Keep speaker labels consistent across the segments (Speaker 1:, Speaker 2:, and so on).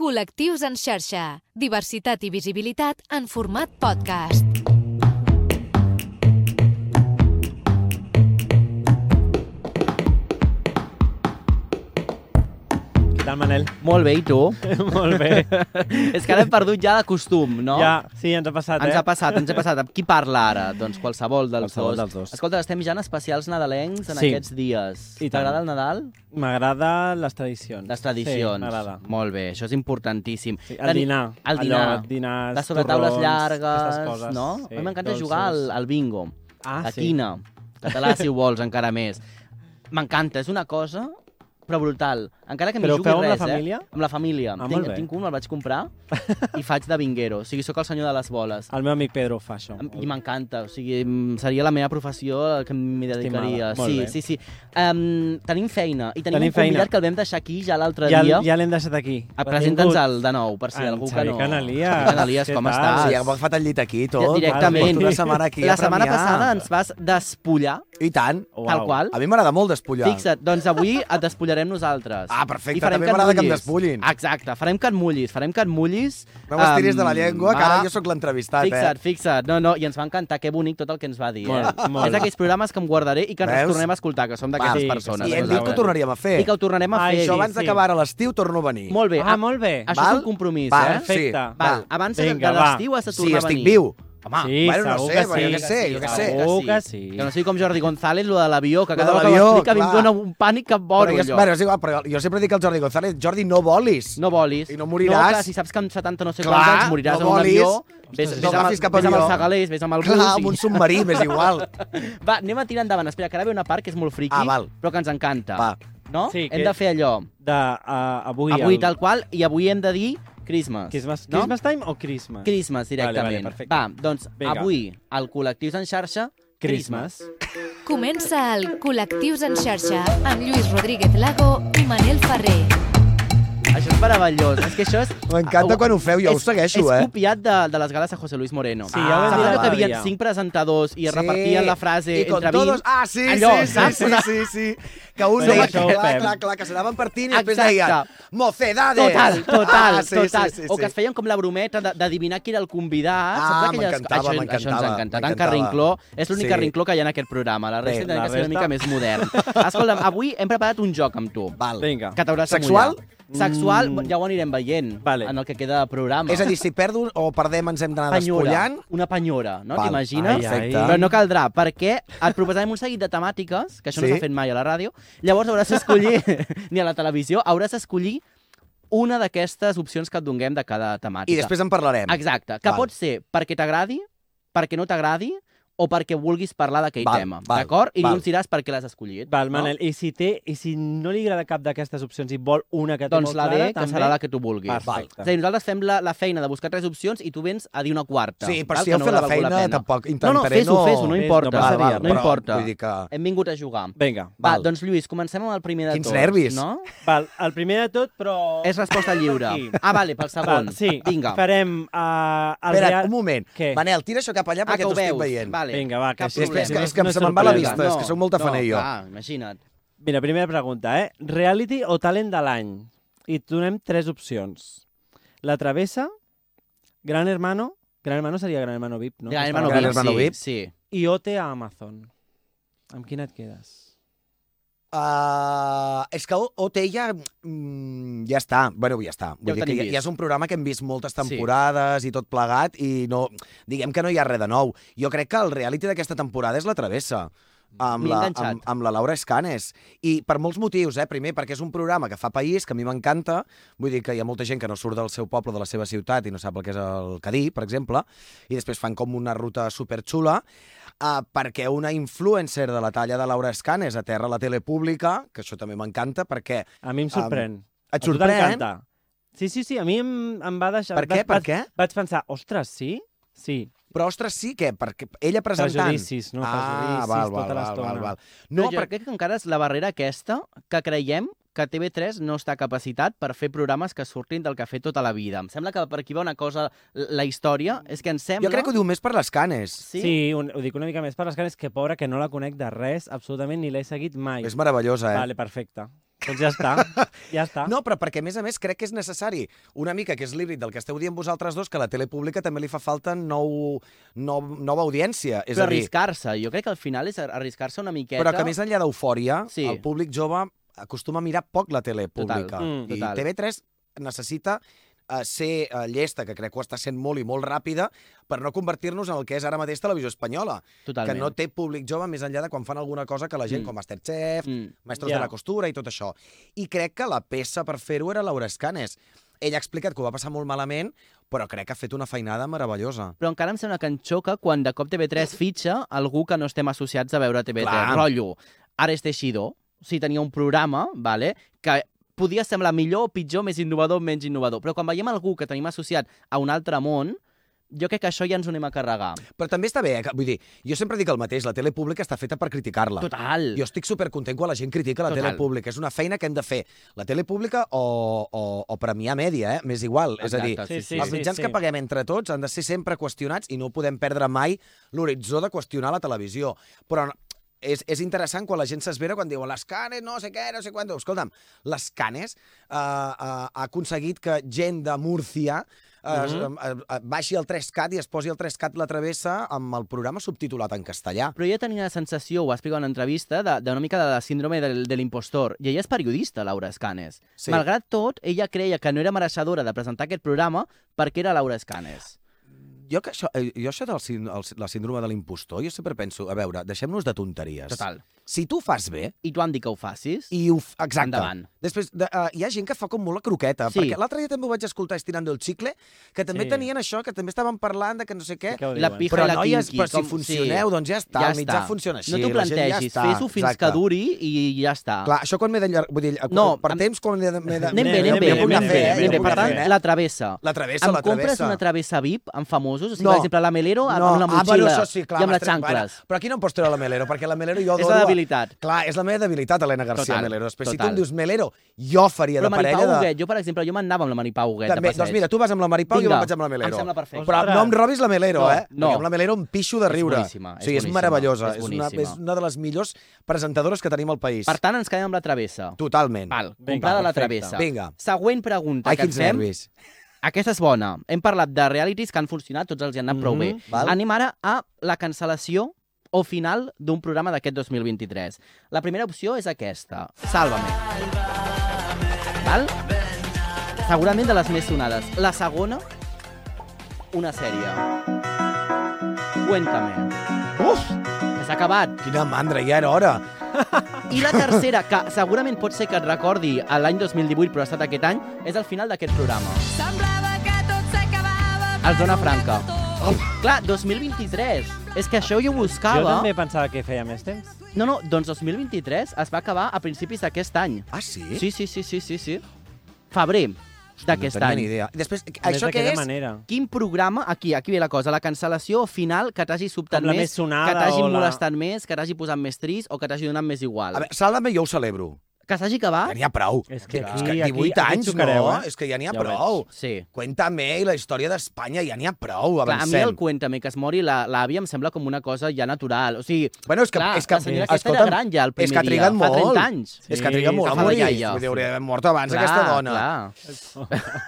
Speaker 1: Col·lectius en xarxa. Diversitat i visibilitat en format podcast.
Speaker 2: Què tal, Manel?
Speaker 3: Molt bé, i tu?
Speaker 2: Molt bé.
Speaker 3: És que ara hem perdut ja de costum, no?
Speaker 2: Ja, sí, ens ha passat,
Speaker 3: Ens
Speaker 2: eh?
Speaker 3: ha passat, ens ha passat. Qui parla ara? Doncs qualsevol dels,
Speaker 2: Qualsevol
Speaker 3: dos.
Speaker 2: dels dos.
Speaker 3: Escolta, estem ja en especials nadalencs en
Speaker 2: Sí.
Speaker 3: aquests dies.
Speaker 2: I tant.
Speaker 3: T'agrada el Nadal?
Speaker 2: M'agrada les tradicions.
Speaker 3: Les tradicions.
Speaker 2: Sí, m'agrada.
Speaker 3: Molt bé, això és importantíssim.
Speaker 2: Sí, el dinar.
Speaker 3: El dinar.
Speaker 2: Allò, dinars,
Speaker 3: Les sobretaules
Speaker 2: torrons, aquestes
Speaker 3: llargues,
Speaker 2: coses,
Speaker 3: no?
Speaker 2: sí,
Speaker 3: a mi m'encanta
Speaker 2: dolços.
Speaker 3: jugar al, al bingo.
Speaker 2: Ah,
Speaker 3: la
Speaker 2: sí.
Speaker 3: quina. Català, si ho vols, encara més. M'encanta, és una cosa però brutal. Encara que m'hi
Speaker 2: Però ho
Speaker 3: jugui
Speaker 2: feu amb la
Speaker 3: res,
Speaker 2: família?
Speaker 3: Eh? Amb la família.
Speaker 2: Ah, molt
Speaker 3: tinc,
Speaker 2: bé.
Speaker 3: tinc un, el vaig comprar i faig de vinguero. O sigui, sóc el senyor de les boles.
Speaker 2: El meu amic Pedro ho fa això.
Speaker 3: I m'encanta, o sigui, mm, seria la meva professió a la que m'hi
Speaker 2: Estimada,
Speaker 3: dedicaria.
Speaker 2: molt
Speaker 3: sí,
Speaker 2: bé.
Speaker 3: sí, sí. Um, tenim feina, i tenim,
Speaker 2: Tenim
Speaker 3: un convidat
Speaker 2: feina.
Speaker 3: que el vam deixar aquí ja l'altre
Speaker 2: ja,
Speaker 3: dia.
Speaker 2: ja l'hem deixat aquí.
Speaker 3: Ah, Presenta'ns
Speaker 2: Benvingut.
Speaker 3: el de nou, per si
Speaker 2: En
Speaker 3: algú que
Speaker 2: Xavi
Speaker 3: no...
Speaker 2: Canalias.
Speaker 3: Xavi Canalias,
Speaker 2: Què
Speaker 3: com
Speaker 2: tal?
Speaker 3: estàs?
Speaker 2: Sí,
Speaker 4: Ah, Sí, hem agafat el llit aquí i tot.
Speaker 3: Ah, Ja, directament.
Speaker 4: Porto Una setmana aquí
Speaker 3: la
Speaker 4: a
Speaker 3: setmana
Speaker 4: Premià.
Speaker 3: passada ens vas despullar,
Speaker 4: I tant.
Speaker 2: Uau.
Speaker 3: tal qual.
Speaker 4: A mi m'agrada molt despullar.
Speaker 3: Fixa't, doncs avui et despullarem nosaltres.
Speaker 4: Ah, perfecte,
Speaker 3: I farem
Speaker 4: també
Speaker 3: et
Speaker 4: m'agrada que em
Speaker 3: mullis.
Speaker 4: despullin.
Speaker 3: Exacte, farem que et mullis, farem que et mullis.
Speaker 4: No m'estiris de la
Speaker 3: Em,
Speaker 4: llengua, que ara
Speaker 3: Um, va.
Speaker 4: jo sóc l'entrevistat,
Speaker 3: Fixa't,
Speaker 4: eh?
Speaker 3: fixa't. No, no, i ens va encantar, que bonic tot el que ens va dir.
Speaker 2: Molt,
Speaker 3: eh?
Speaker 2: molt.
Speaker 3: És d'aquells programes que em guardaré i que ens
Speaker 4: Veus?
Speaker 3: els tornem a escoltar, que som d'aquestes
Speaker 2: Sí,
Speaker 3: persones.
Speaker 2: sí,
Speaker 4: I
Speaker 2: sí.
Speaker 4: hem dit que ho
Speaker 3: nosaltres.
Speaker 4: tornaríem a fer.
Speaker 3: I que ho tornarem a
Speaker 2: Ai,
Speaker 3: fer.
Speaker 4: Això
Speaker 2: va-
Speaker 4: abans
Speaker 2: sí.
Speaker 4: d'acabar a l'estiu torno a venir.
Speaker 3: Molt bé.
Speaker 2: Ah,
Speaker 3: a-
Speaker 2: molt bé.
Speaker 3: Això
Speaker 4: Val?
Speaker 3: és un compromís,
Speaker 4: Val,
Speaker 3: eh?
Speaker 2: Perfecte.
Speaker 4: sí.
Speaker 3: Val,
Speaker 4: Va.
Speaker 3: abans
Speaker 2: Vinga,
Speaker 3: de
Speaker 2: va.
Speaker 3: l'estiu has de
Speaker 4: Si sí,
Speaker 3: tornar a venir.
Speaker 4: estic viu. Home,
Speaker 2: Sí,
Speaker 4: bueno, no
Speaker 2: segur
Speaker 4: sé,
Speaker 2: que
Speaker 4: bueno,
Speaker 2: sí.
Speaker 4: jo què sé, jo què sé.
Speaker 2: Segur que sí.
Speaker 3: Que no sigui com Jordi González, lo de l'avió, que
Speaker 4: Lo
Speaker 3: cada
Speaker 4: de
Speaker 3: vegada que ho
Speaker 4: l'avió,
Speaker 3: explica a mi em
Speaker 4: clar.
Speaker 3: dóna un pànic que em voro,
Speaker 4: però jo,
Speaker 3: allò.
Speaker 4: bueno, és igual, però jo sempre dic al Jordi González, Jordi, no volis.
Speaker 3: No volis.
Speaker 4: I no moriràs.
Speaker 3: No, clar, si saps que amb 70 no sé
Speaker 4: Clar,
Speaker 3: quants anys moriràs
Speaker 4: no
Speaker 3: en un
Speaker 4: volis.
Speaker 3: avió, vés,
Speaker 4: Ostres,
Speaker 3: vés,
Speaker 4: no
Speaker 3: amb,
Speaker 4: agafis
Speaker 3: el,
Speaker 4: cap
Speaker 3: vés amb
Speaker 4: avió.
Speaker 3: els segalers, vés amb el
Speaker 4: Clar,
Speaker 3: bus... i-
Speaker 4: amb un submarí, m'és igual.
Speaker 3: Va, anem a tirar endavant. Espera, que ara ve una part que és molt friqui,
Speaker 4: Ah, val.
Speaker 3: però que ens encanta.
Speaker 4: Va.
Speaker 3: No?
Speaker 2: Sí,
Speaker 3: hem
Speaker 2: que-
Speaker 3: de fer allò.
Speaker 2: De, uh, avui...
Speaker 3: avui
Speaker 2: el-
Speaker 3: tal qual, i avui hem de dir Christmas.
Speaker 2: Christmas,
Speaker 3: no?
Speaker 2: Christmas time o Christmas?
Speaker 3: Christmas,
Speaker 2: Vale,
Speaker 3: directament.
Speaker 2: vale, perfecte.
Speaker 3: Va, doncs
Speaker 2: Vinga.
Speaker 3: avui, al Col·lectius en xarxa, Christmas.
Speaker 2: Christmas.
Speaker 1: Comença el Col·lectius en xarxa amb Lluís Rodríguez Lago i Manel Ferrer.
Speaker 3: Això és meravellós. És que això és...
Speaker 4: M'encanta quan ho feu, jo ho
Speaker 3: és-
Speaker 4: segueixo,
Speaker 3: és
Speaker 4: eh?
Speaker 3: copiat de, de les gales de José Luis Moreno.
Speaker 2: Sí, ja ho hem dit
Speaker 3: Saps allò que
Speaker 2: l'altre
Speaker 3: hi havia
Speaker 2: dia.
Speaker 3: cinc presentadors i
Speaker 4: Sí.
Speaker 3: es repetien la frase
Speaker 4: I con
Speaker 3: entre 20?
Speaker 4: todos... Ah, sí,
Speaker 3: Allò,
Speaker 4: sí,
Speaker 3: saps?
Speaker 4: sí, sí, sí, sí. Que un
Speaker 2: Però
Speaker 4: deia,
Speaker 2: això
Speaker 4: clar,
Speaker 2: ho
Speaker 4: clar,
Speaker 2: fem.
Speaker 4: clar, clar, que s'anaven partint i després
Speaker 3: Exacte.
Speaker 4: deien mocedades.
Speaker 3: Total, total,
Speaker 4: ah, sí,
Speaker 3: total.
Speaker 4: Sí, sí, sí.
Speaker 3: O que es feien com la brometa de- d'adivinar qui era el convidat.
Speaker 4: Ah,
Speaker 3: saps aquelles-
Speaker 4: m'encantava,
Speaker 3: Això- Això ens
Speaker 4: m'encantava,
Speaker 3: encanta. Tant que
Speaker 4: m'encantava.
Speaker 3: Rincló, és l'únic
Speaker 4: Sí.
Speaker 3: Rincló que hi ha en aquest programa. La resta
Speaker 4: Bé,
Speaker 3: tindrà
Speaker 2: la
Speaker 3: que ser una mica
Speaker 2: resta-
Speaker 3: més modern. Escolta'm, avui hem preparat un joc amb tu.
Speaker 4: Val.
Speaker 2: Vinga.
Speaker 3: Que t'hauràs de
Speaker 4: Sexual? Mm.
Speaker 3: mullar. Sexual, ja ho anirem veient
Speaker 2: Vale.
Speaker 3: en el que queda de programa.
Speaker 4: És a dir, si perdo o perdem ens hem d'anar
Speaker 3: penyora,
Speaker 4: despullant.
Speaker 3: una penyora, no?
Speaker 4: Val.
Speaker 2: Ai,
Speaker 3: T'imagines?
Speaker 4: Ah.
Speaker 2: ai.
Speaker 3: Però no caldrà, perquè et proposarem un seguit de temàtiques, que això no
Speaker 4: Sí.
Speaker 3: s'ha fet mai a la ràdio, llavors hauràs d'escollir, ni a la televisió, hauràs d'escollir una d'aquestes opcions que et donguem de cada temàtica.
Speaker 4: I després en parlarem.
Speaker 3: Exacte, que
Speaker 4: Val.
Speaker 3: pot ser perquè t'agradi, perquè no t'agradi, o perquè vulguis parlar d'aquell
Speaker 4: Val,
Speaker 3: tema,
Speaker 4: val,
Speaker 3: d'acord? I
Speaker 4: val.
Speaker 3: ens diràs per què l'has escollit.
Speaker 2: Val, Manel, i si té, i si no li agrada cap d'aquestes opcions i vol una que
Speaker 3: No?
Speaker 2: té
Speaker 3: Doncs
Speaker 2: molt
Speaker 3: la D,
Speaker 2: clara,
Speaker 3: que
Speaker 2: també...
Speaker 3: serà la que tu vulguis.
Speaker 2: Perfecte.
Speaker 3: És a dir, nosaltres fem la, la feina de buscar tres opcions i tu vens a dir una quarta.
Speaker 4: Sí, però
Speaker 3: val?
Speaker 4: si
Speaker 3: Que
Speaker 4: heu
Speaker 3: no
Speaker 4: fet la
Speaker 3: haurà valgut
Speaker 4: feina,
Speaker 3: pena.
Speaker 4: tampoc
Speaker 3: No, no,
Speaker 4: intentaré
Speaker 3: fes-ho,
Speaker 4: no...
Speaker 3: fes-ho, no
Speaker 2: Fes,
Speaker 3: importa.
Speaker 2: no passa res,
Speaker 3: no
Speaker 2: però
Speaker 3: importa.
Speaker 4: Vull dir que...
Speaker 3: Hem vingut a jugar.
Speaker 2: Vinga.
Speaker 3: Va,
Speaker 4: Val.
Speaker 3: doncs Lluís, comencem amb el primer de
Speaker 4: Quins
Speaker 3: tots.
Speaker 4: nervis.
Speaker 3: No?
Speaker 2: Val, el primer de tot, però...
Speaker 3: És resposta lliure.
Speaker 2: Aquí.
Speaker 3: Ah, vale, pel segon.
Speaker 2: Val, sí,
Speaker 3: Vinga.
Speaker 2: farem uh, el
Speaker 4: Espera,
Speaker 2: real...
Speaker 4: un moment.
Speaker 2: Què?
Speaker 4: Manel, tira això cap allà
Speaker 3: Ah,
Speaker 4: perquè
Speaker 3: que ho
Speaker 4: t'ho estic
Speaker 3: veus.
Speaker 4: veient.
Speaker 3: Vale.
Speaker 2: Vinga, va, que
Speaker 3: Cap
Speaker 2: així-
Speaker 4: És que, és que,
Speaker 3: problema.
Speaker 4: és que
Speaker 2: No
Speaker 4: em se me'n va la
Speaker 2: sorpresa.
Speaker 4: vista, és que sóc molt
Speaker 3: no,
Speaker 4: tafaner jo.
Speaker 3: Clar, imagina't.
Speaker 2: Mira, primera pregunta, eh? Reality o talent de l'any? I et donem tres opcions. La travessa, Gran Hermano, Gran Hermano seria Gran Hermano VIP, no?
Speaker 3: Gran Hermano
Speaker 4: Gran
Speaker 3: VIP,
Speaker 4: Hermano
Speaker 3: sí,
Speaker 4: VIP.
Speaker 3: Sí.
Speaker 2: I OT a Amazon. Amb quina et quedes?
Speaker 4: Uh, és que O- OT ja, mm, ja està, bueno, ja està.
Speaker 3: Ja ho
Speaker 4: Vull dir que
Speaker 3: tenim
Speaker 4: ja,
Speaker 3: vist.
Speaker 4: ja és un programa que hem vist moltes
Speaker 3: Sí.
Speaker 4: temporades sí. i tot plegat i no, diguem que no hi ha res de nou. Jo crec que el reality d'aquesta temporada és la travessa amb
Speaker 3: M'he
Speaker 4: la,
Speaker 3: enganxat.
Speaker 4: amb, amb la Laura Escanes. I per molts motius, eh? Primer, perquè és un programa que fa país, que a mi m'encanta. Vull dir que hi ha molta gent que no surt del seu poble, de la seva ciutat, i no sap el que és el Cadí, per exemple. I després fan com una ruta superxula uh, perquè una influencer de la talla de Laura Escanes aterra a la tele pública, que això també m'encanta, perquè
Speaker 2: A mi em sorprèn. Um,
Speaker 4: et sorprèn.
Speaker 2: t'encanta. Sí, sí, sí, a mi em, em va deixar...
Speaker 4: Per
Speaker 2: Vaig,
Speaker 4: què? Per
Speaker 2: vaig-
Speaker 4: què?
Speaker 2: Vaig pensar, ostres, sí? Sí,
Speaker 4: Però, ostres, sí que, perquè ella presentant...
Speaker 2: prejudicis, no?
Speaker 4: ah,
Speaker 2: prejudicis
Speaker 4: val, val,
Speaker 2: tota
Speaker 4: val,
Speaker 2: l'estona.
Speaker 4: val, val.
Speaker 3: No,
Speaker 4: No,
Speaker 3: però jo crec que encara és la barrera aquesta que creiem que TV3 no està capacitat per fer programes que surtin del que ha fet tota la vida. Em sembla que per aquí va una cosa, la història, és que em sembla...
Speaker 4: jo crec que ho diu més per les canes.
Speaker 2: Sí, sí un, ho dic una mica més per les cares, que pobra que no la conec de res, absolutament, ni l'he seguit mai.
Speaker 4: És meravellosa, eh?
Speaker 2: Vale, perfecte. Doncs ja està, ja està.
Speaker 4: No, però perquè, a més a més, crec que és necessari una mica, que és l'híbrid del que esteu dient vosaltres dos, que a la tele pública també li fa falta nou, nou, nova audiència. És
Speaker 3: Però
Speaker 4: a dir,
Speaker 3: arriscar-se, jo crec que al final és arriscar-se una miqueta.
Speaker 4: però que més enllà d'eufòria,
Speaker 3: Sí.
Speaker 4: sí. el públic jove acostuma a mirar poc la tele pública.
Speaker 2: Mm,
Speaker 4: I
Speaker 3: total.
Speaker 4: TV3 necessita eh, ser eh, llesta, que crec que ho està sent molt i molt ràpida, per no convertir-nos en el que és ara mateix televisió espanyola,
Speaker 3: Totalment.
Speaker 4: que no té públic jove més enllà de quan fan alguna cosa que la gent,
Speaker 3: Mm.
Speaker 4: mm. com Masterchef,
Speaker 3: Mm.
Speaker 4: Maestros
Speaker 2: Ja.
Speaker 4: de la costura i tot això. I crec que la peça per fer-ho era Laura Escanes. Ella ha explicat que ho va passar molt malament, però crec que ha fet una feinada meravellosa.
Speaker 3: Però encara em sembla que em xoca quan de cop TV3 fitxa algú que no estem associats a veure TV3.
Speaker 4: Clar.
Speaker 3: Rotllo, ara és teixidor, o sigui, tenia un programa, vale, que podia semblar millor o pitjor, més innovador o menys innovador. Però quan veiem algú que tenim associat a un altre món, jo crec que això ja ens ho anem a carregar.
Speaker 4: Però també està bé, eh? que- vull dir, jo sempre dic el mateix, la tele pública està feta per criticar-la.
Speaker 3: Total.
Speaker 4: Jo estic supercontent quan la gent critica la
Speaker 3: Total.
Speaker 4: tele pública. És una feina que hem de fer. La tele pública o, o, o premiar mèdia, eh? M'és igual. És a dir,
Speaker 3: Exacte,
Speaker 2: Sí, sí,
Speaker 4: els mitjans
Speaker 2: sí.
Speaker 4: que paguem entre tots han de ser sempre qüestionats i no podem perdre mai l'horitzó de qüestionar la televisió. Però és, és interessant quan la gent s'esvera quan diuen les canes, no sé què, no sé quant... Escolta'm, les canes eh, eh, ha aconseguit que gent de Múrcia eh, es-
Speaker 2: Mhm.
Speaker 4: eh, eh, baixi el 3CAT i es posi el 3CAT la travessa amb el programa subtitulat en castellà.
Speaker 3: Però ella tenia la sensació, ho ha explicat en una entrevista, de- d'una mica de la síndrome del- de l'impostor. I ella és periodista, Laura Escanes. Sí.
Speaker 4: Sí.
Speaker 3: Malgrat tot, ella creia que no era mereixedora de presentar aquest programa perquè era Laura Escanes.
Speaker 4: Jo, que això, eh, jo això de la síndrome de l'impostor, jo sempre penso, a veure, deixem-nos de tonteries.
Speaker 3: Total.
Speaker 4: Si tu ho fas bé,
Speaker 3: I t'ho han dit que ho facis. I...
Speaker 4: i ho... f- Exacte.
Speaker 3: Endavant.
Speaker 4: Després, de, uh, hi ha gent que fa com molt la croqueta,
Speaker 3: Sí.
Speaker 4: sí. perquè l'altre dia també ho vaig escoltar estirando el xicle, que també
Speaker 2: Sí.
Speaker 4: sí. tenien això, que també estaven parlant de que no sé què.
Speaker 2: Què ho
Speaker 3: La
Speaker 2: diuen?
Speaker 3: pija
Speaker 4: Però,
Speaker 3: i la
Speaker 4: noies,
Speaker 3: quinqui,
Speaker 4: però si
Speaker 3: com-
Speaker 4: funcioneu,
Speaker 3: sí.
Speaker 4: doncs ja està,
Speaker 3: Ja
Speaker 4: el mitjà
Speaker 3: està.
Speaker 4: funciona així.
Speaker 3: no t'ho
Speaker 4: la gent
Speaker 3: plantegis,
Speaker 4: ja està,
Speaker 3: fes-ho fins
Speaker 4: exacte.
Speaker 3: que duri i ja està.
Speaker 4: Clar, això quan m'he de... llar- Vull dir,
Speaker 3: No,
Speaker 4: no, per
Speaker 3: amb-
Speaker 4: temps quan m'he de... m'he de-
Speaker 3: Anem bé,
Speaker 4: jo
Speaker 3: anem bé,
Speaker 4: puc anar
Speaker 3: anem
Speaker 4: fent,
Speaker 3: bé,
Speaker 4: eh? Jo
Speaker 3: anem bé.
Speaker 4: puc
Speaker 3: Per
Speaker 4: anar
Speaker 3: tant,
Speaker 4: fent, eh?
Speaker 3: la travessa.
Speaker 4: La travessa,
Speaker 3: Em
Speaker 4: la
Speaker 3: compres
Speaker 4: travessa.
Speaker 3: una travessa VIP amb famosos? O sigui,
Speaker 4: No.
Speaker 3: per exemple, la Melero amb, amb una
Speaker 4: ah,
Speaker 3: motxilla
Speaker 4: bueno, això sí, clar,
Speaker 3: i amb les
Speaker 4: m'estem-
Speaker 3: xancles.
Speaker 4: Bueno, però aquí no em pots treure la Melero, perquè la Melero jo
Speaker 3: És la
Speaker 4: adoro...
Speaker 3: debilitat.
Speaker 4: Clar, és la meva debilitat, Helena García
Speaker 3: Total,
Speaker 4: Melero. Després, si
Speaker 3: total.
Speaker 4: tu em dius Melero, jo faria
Speaker 3: Però
Speaker 4: de
Speaker 3: Maripau
Speaker 4: parella de...
Speaker 3: Huguet, jo, per exemple, jo m'anava amb la Maripau Huguet
Speaker 4: També,
Speaker 3: de passeig.
Speaker 4: doncs mira, tu vas amb la Maripau i jo
Speaker 3: Vinga,
Speaker 4: me'n vaig amb la Melero. Doncs
Speaker 3: em sembla perfecte.
Speaker 4: Però
Speaker 2: Ostres.
Speaker 4: no em robis la Melero,
Speaker 3: No,
Speaker 4: eh?
Speaker 3: no.
Speaker 4: Perquè amb la Melero em pixo de
Speaker 3: És
Speaker 4: riure.
Speaker 3: boníssima, és
Speaker 4: o sigui, és
Speaker 3: boníssima,
Speaker 4: meravellosa.
Speaker 3: és
Speaker 4: És, una,
Speaker 3: boníssima.
Speaker 4: és una de les millors presentadores que tenim al país.
Speaker 3: Per tant, ens quedem amb la travessa.
Speaker 4: Totalment.
Speaker 3: Val,
Speaker 2: Vinga,
Speaker 3: comprada la
Speaker 2: perfecte.
Speaker 3: travessa.
Speaker 4: Vinga.
Speaker 3: Següent pregunta
Speaker 4: Ai,
Speaker 3: que
Speaker 4: quins
Speaker 3: et fem.
Speaker 4: nervis.
Speaker 3: Aquesta és bona. Hem parlat de realities que han funcionat, tots els hi han anat prou bé.
Speaker 2: Mhm,
Speaker 4: val.
Speaker 3: Anem ara a la cancel·lació o final d'un programa d'aquest 2023. La primera opció és aquesta. Sálvame. Val? Segurament de les més sonades. La segona, una sèrie. Cuéntame.
Speaker 4: Uf,
Speaker 3: Que s'ha acabat.
Speaker 4: quina mandra, ja era hora.
Speaker 3: I la tercera, que segurament pot ser que et recordi a l'any 2018, però ha estat aquest any, és el final d'aquest programa.
Speaker 5: Semblava que tot s'acabava...
Speaker 3: El Zona Franca. Oh. Clar, 2023. És que això jo
Speaker 2: Jo
Speaker 3: ho buscava.
Speaker 2: també pensava que feia més temps.
Speaker 3: No, no, doncs 2023 es va acabar a principis d'aquest any.
Speaker 4: Ah, sí?
Speaker 3: Sí, sí, sí, sí, sí, sí. Febrer d'aquest
Speaker 4: no tenia
Speaker 3: any.
Speaker 4: ni idea. I després,
Speaker 2: A més,
Speaker 4: això què
Speaker 2: d'aquella
Speaker 4: és?
Speaker 2: manera.
Speaker 3: Quin programa, aquí, aquí ve la cosa, la cancel·lació final que t'hagi sobtat
Speaker 2: Com la
Speaker 3: més,
Speaker 2: més sonada
Speaker 3: que t'hagi
Speaker 2: o la-
Speaker 3: molestat més, que t'hagi posat més trist o que t'hagi donat més igual.
Speaker 4: A veure, Sálvame jo ho celebro.
Speaker 3: Que s'hagi
Speaker 4: Ja
Speaker 3: acabat?
Speaker 4: n'hi ha prou.
Speaker 2: És que
Speaker 4: és que
Speaker 2: aquí-
Speaker 4: 18
Speaker 2: aquí- aquí
Speaker 4: anys,
Speaker 2: xocareu,
Speaker 4: no?
Speaker 2: eh?
Speaker 4: És que ja n'hi ha
Speaker 2: Ja ho
Speaker 4: prou.
Speaker 3: Sí.
Speaker 4: Cuéntame i la història d'Espanya, ja n'hi ha prou,
Speaker 3: Clar, a mi
Speaker 4: avancem.
Speaker 3: el Cuéntame que es mori la- l'àvia em sembla com una cosa ja natural. O sigui,
Speaker 4: Bueno, és que,
Speaker 3: clar,
Speaker 4: és que
Speaker 3: la senyora aquesta era
Speaker 4: escolta'm,
Speaker 3: gran ja el primer
Speaker 4: és que
Speaker 3: dia,
Speaker 4: triguen
Speaker 3: fa 30
Speaker 4: molt.
Speaker 3: anys.
Speaker 4: És
Speaker 2: Sí,
Speaker 4: que triguen molt
Speaker 3: que
Speaker 4: a
Speaker 3: fa la
Speaker 4: morir.
Speaker 3: iaia.
Speaker 4: Vull dir, hauria d'haver mort abans
Speaker 3: clar,
Speaker 4: aquesta dona.
Speaker 3: Clar.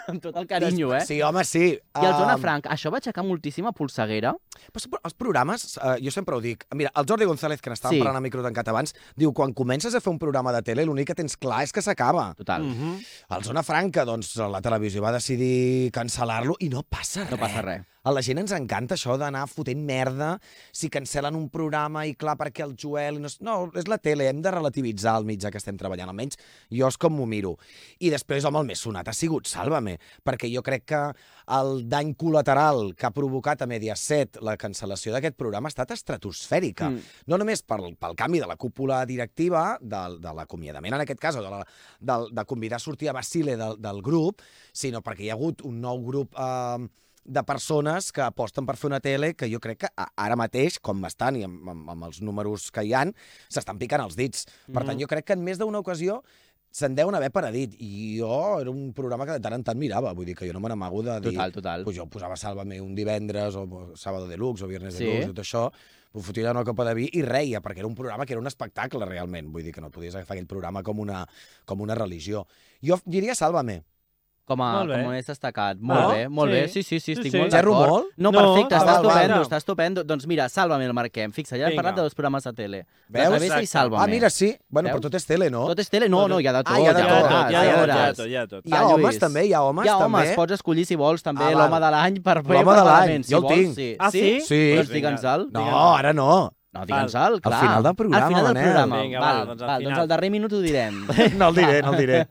Speaker 3: Amb tot el carinyo, eh?
Speaker 4: Sí, home, sí.
Speaker 3: I el Zona
Speaker 4: Ah,
Speaker 3: Franc, això va aixecar moltíssima polseguera.
Speaker 4: Però els programes, eh, jo sempre ho dic, mira, el Jordi González, que n'estàvem
Speaker 3: Sí.
Speaker 4: sí. parlant a micro tancat abans, diu, quan comences a fer un programa de tele, l'únic que tens clar és que s'acaba.
Speaker 3: Total. Mm.
Speaker 2: Mhm.
Speaker 4: Al Zona Franca, doncs, la televisió va decidir cancel·lar-lo i no passa res.
Speaker 3: No passa res.
Speaker 4: A la gent ens encanta això d'anar fotent merda si cancel·len un programa i clar, perquè el Joel... i No, s- no, és la tele, hem de relativitzar el mitjà que estem treballant, almenys jo és com m'ho miro. I després, home, el més sonat ha sigut Sálvame, perquè jo crec que el dany col·lateral que ha provocat a Mediaset la cancel·lació d'aquest programa ha estat estratosfèrica.
Speaker 3: Mm.
Speaker 4: Mm. No només pel, pel canvi de la cúpula directiva, de, de l'acomiadament en aquest cas, o de, la, de, de convidar a sortir a Basile del, del grup, sinó perquè hi ha hagut un nou grup... Eh, de persones que aposten per fer una tele que jo crec que a- ara mateix, com estan i Eh,
Speaker 3: Mhm.
Speaker 4: amb, amb, amb els números que hi han, s'estan picant els dits. Per tant, jo crec que en més d'una ocasió se'n deuen haver paradit. I jo era un programa que de tant en tant mirava, vull dir que jo no me n'amago de dir...
Speaker 3: Total, total.
Speaker 4: Pues jo posava Sálvame un divendres, o Sábado Deluxe, o Viernes
Speaker 3: Sí.
Speaker 4: sí. Deluxe, i tot això, m'ho fotia allà una copa de vi i reia, perquè era un programa que era un espectacle, realment. Vull dir que no podies agafar aquell programa com una, com una religió. Jo diria Sálvame.
Speaker 3: Com a,
Speaker 2: Molt bé.
Speaker 3: com és destacat. Molt
Speaker 2: Ah,
Speaker 3: bé, molt
Speaker 2: sí.
Speaker 3: bé. Sí, sí, sí,
Speaker 2: Sí,
Speaker 3: estic
Speaker 2: sí.
Speaker 3: molt
Speaker 4: Gerro
Speaker 3: d'acord.
Speaker 4: molt?
Speaker 3: No,
Speaker 2: No,
Speaker 3: perfecte,
Speaker 2: ah,
Speaker 3: està
Speaker 4: val, val.
Speaker 3: estupendo, està estupendo. Doncs mira, Sálvame el marquem. Fixa, ja hem
Speaker 2: Vinga.
Speaker 3: parlat de dos programes de tele.
Speaker 4: Veus?
Speaker 3: La travessa i
Speaker 2: Exacte.
Speaker 3: Sálvame.
Speaker 4: Ah, mira, sí. Bueno,
Speaker 3: Veus?
Speaker 4: però Oh. tot és tele, no?
Speaker 3: Tot és tele? No,
Speaker 2: Tot
Speaker 3: no,
Speaker 2: és-
Speaker 3: hi ha de tot.
Speaker 4: Ah, hi ha de
Speaker 2: Hi
Speaker 4: tot,
Speaker 2: ha
Speaker 3: veràs,
Speaker 2: hi ha
Speaker 3: ja
Speaker 2: de tot, hi ha
Speaker 3: veràs.
Speaker 2: de tot, hi ha de tot.
Speaker 4: Hi ha
Speaker 3: Va,
Speaker 4: homes,
Speaker 3: Lluís.
Speaker 4: també? Hi ha homes,
Speaker 3: Ah, Hi ha
Speaker 4: també?
Speaker 3: homes, pots escollir si vols també
Speaker 4: Ah,
Speaker 3: l'home
Speaker 4: val.
Speaker 3: de l'any per fer
Speaker 4: L'home de l'any,
Speaker 3: Parlament, si
Speaker 4: jo el
Speaker 3: vols,
Speaker 4: tinc.
Speaker 3: Sí.
Speaker 2: Ah, sí?
Speaker 4: Sí.
Speaker 3: Doncs
Speaker 2: Vinga.
Speaker 3: digue'ns-el.
Speaker 4: No,
Speaker 2: Vinga.
Speaker 4: ara no.
Speaker 3: No, digue'ns-el, clar.
Speaker 4: final del programa,
Speaker 3: Al final del
Speaker 4: Manel.
Speaker 3: programa.
Speaker 2: Vinga, va,
Speaker 3: val,
Speaker 2: doncs al
Speaker 3: val, doncs
Speaker 2: final.
Speaker 3: al darrer minut ho direm.
Speaker 4: No el diré, no el diré.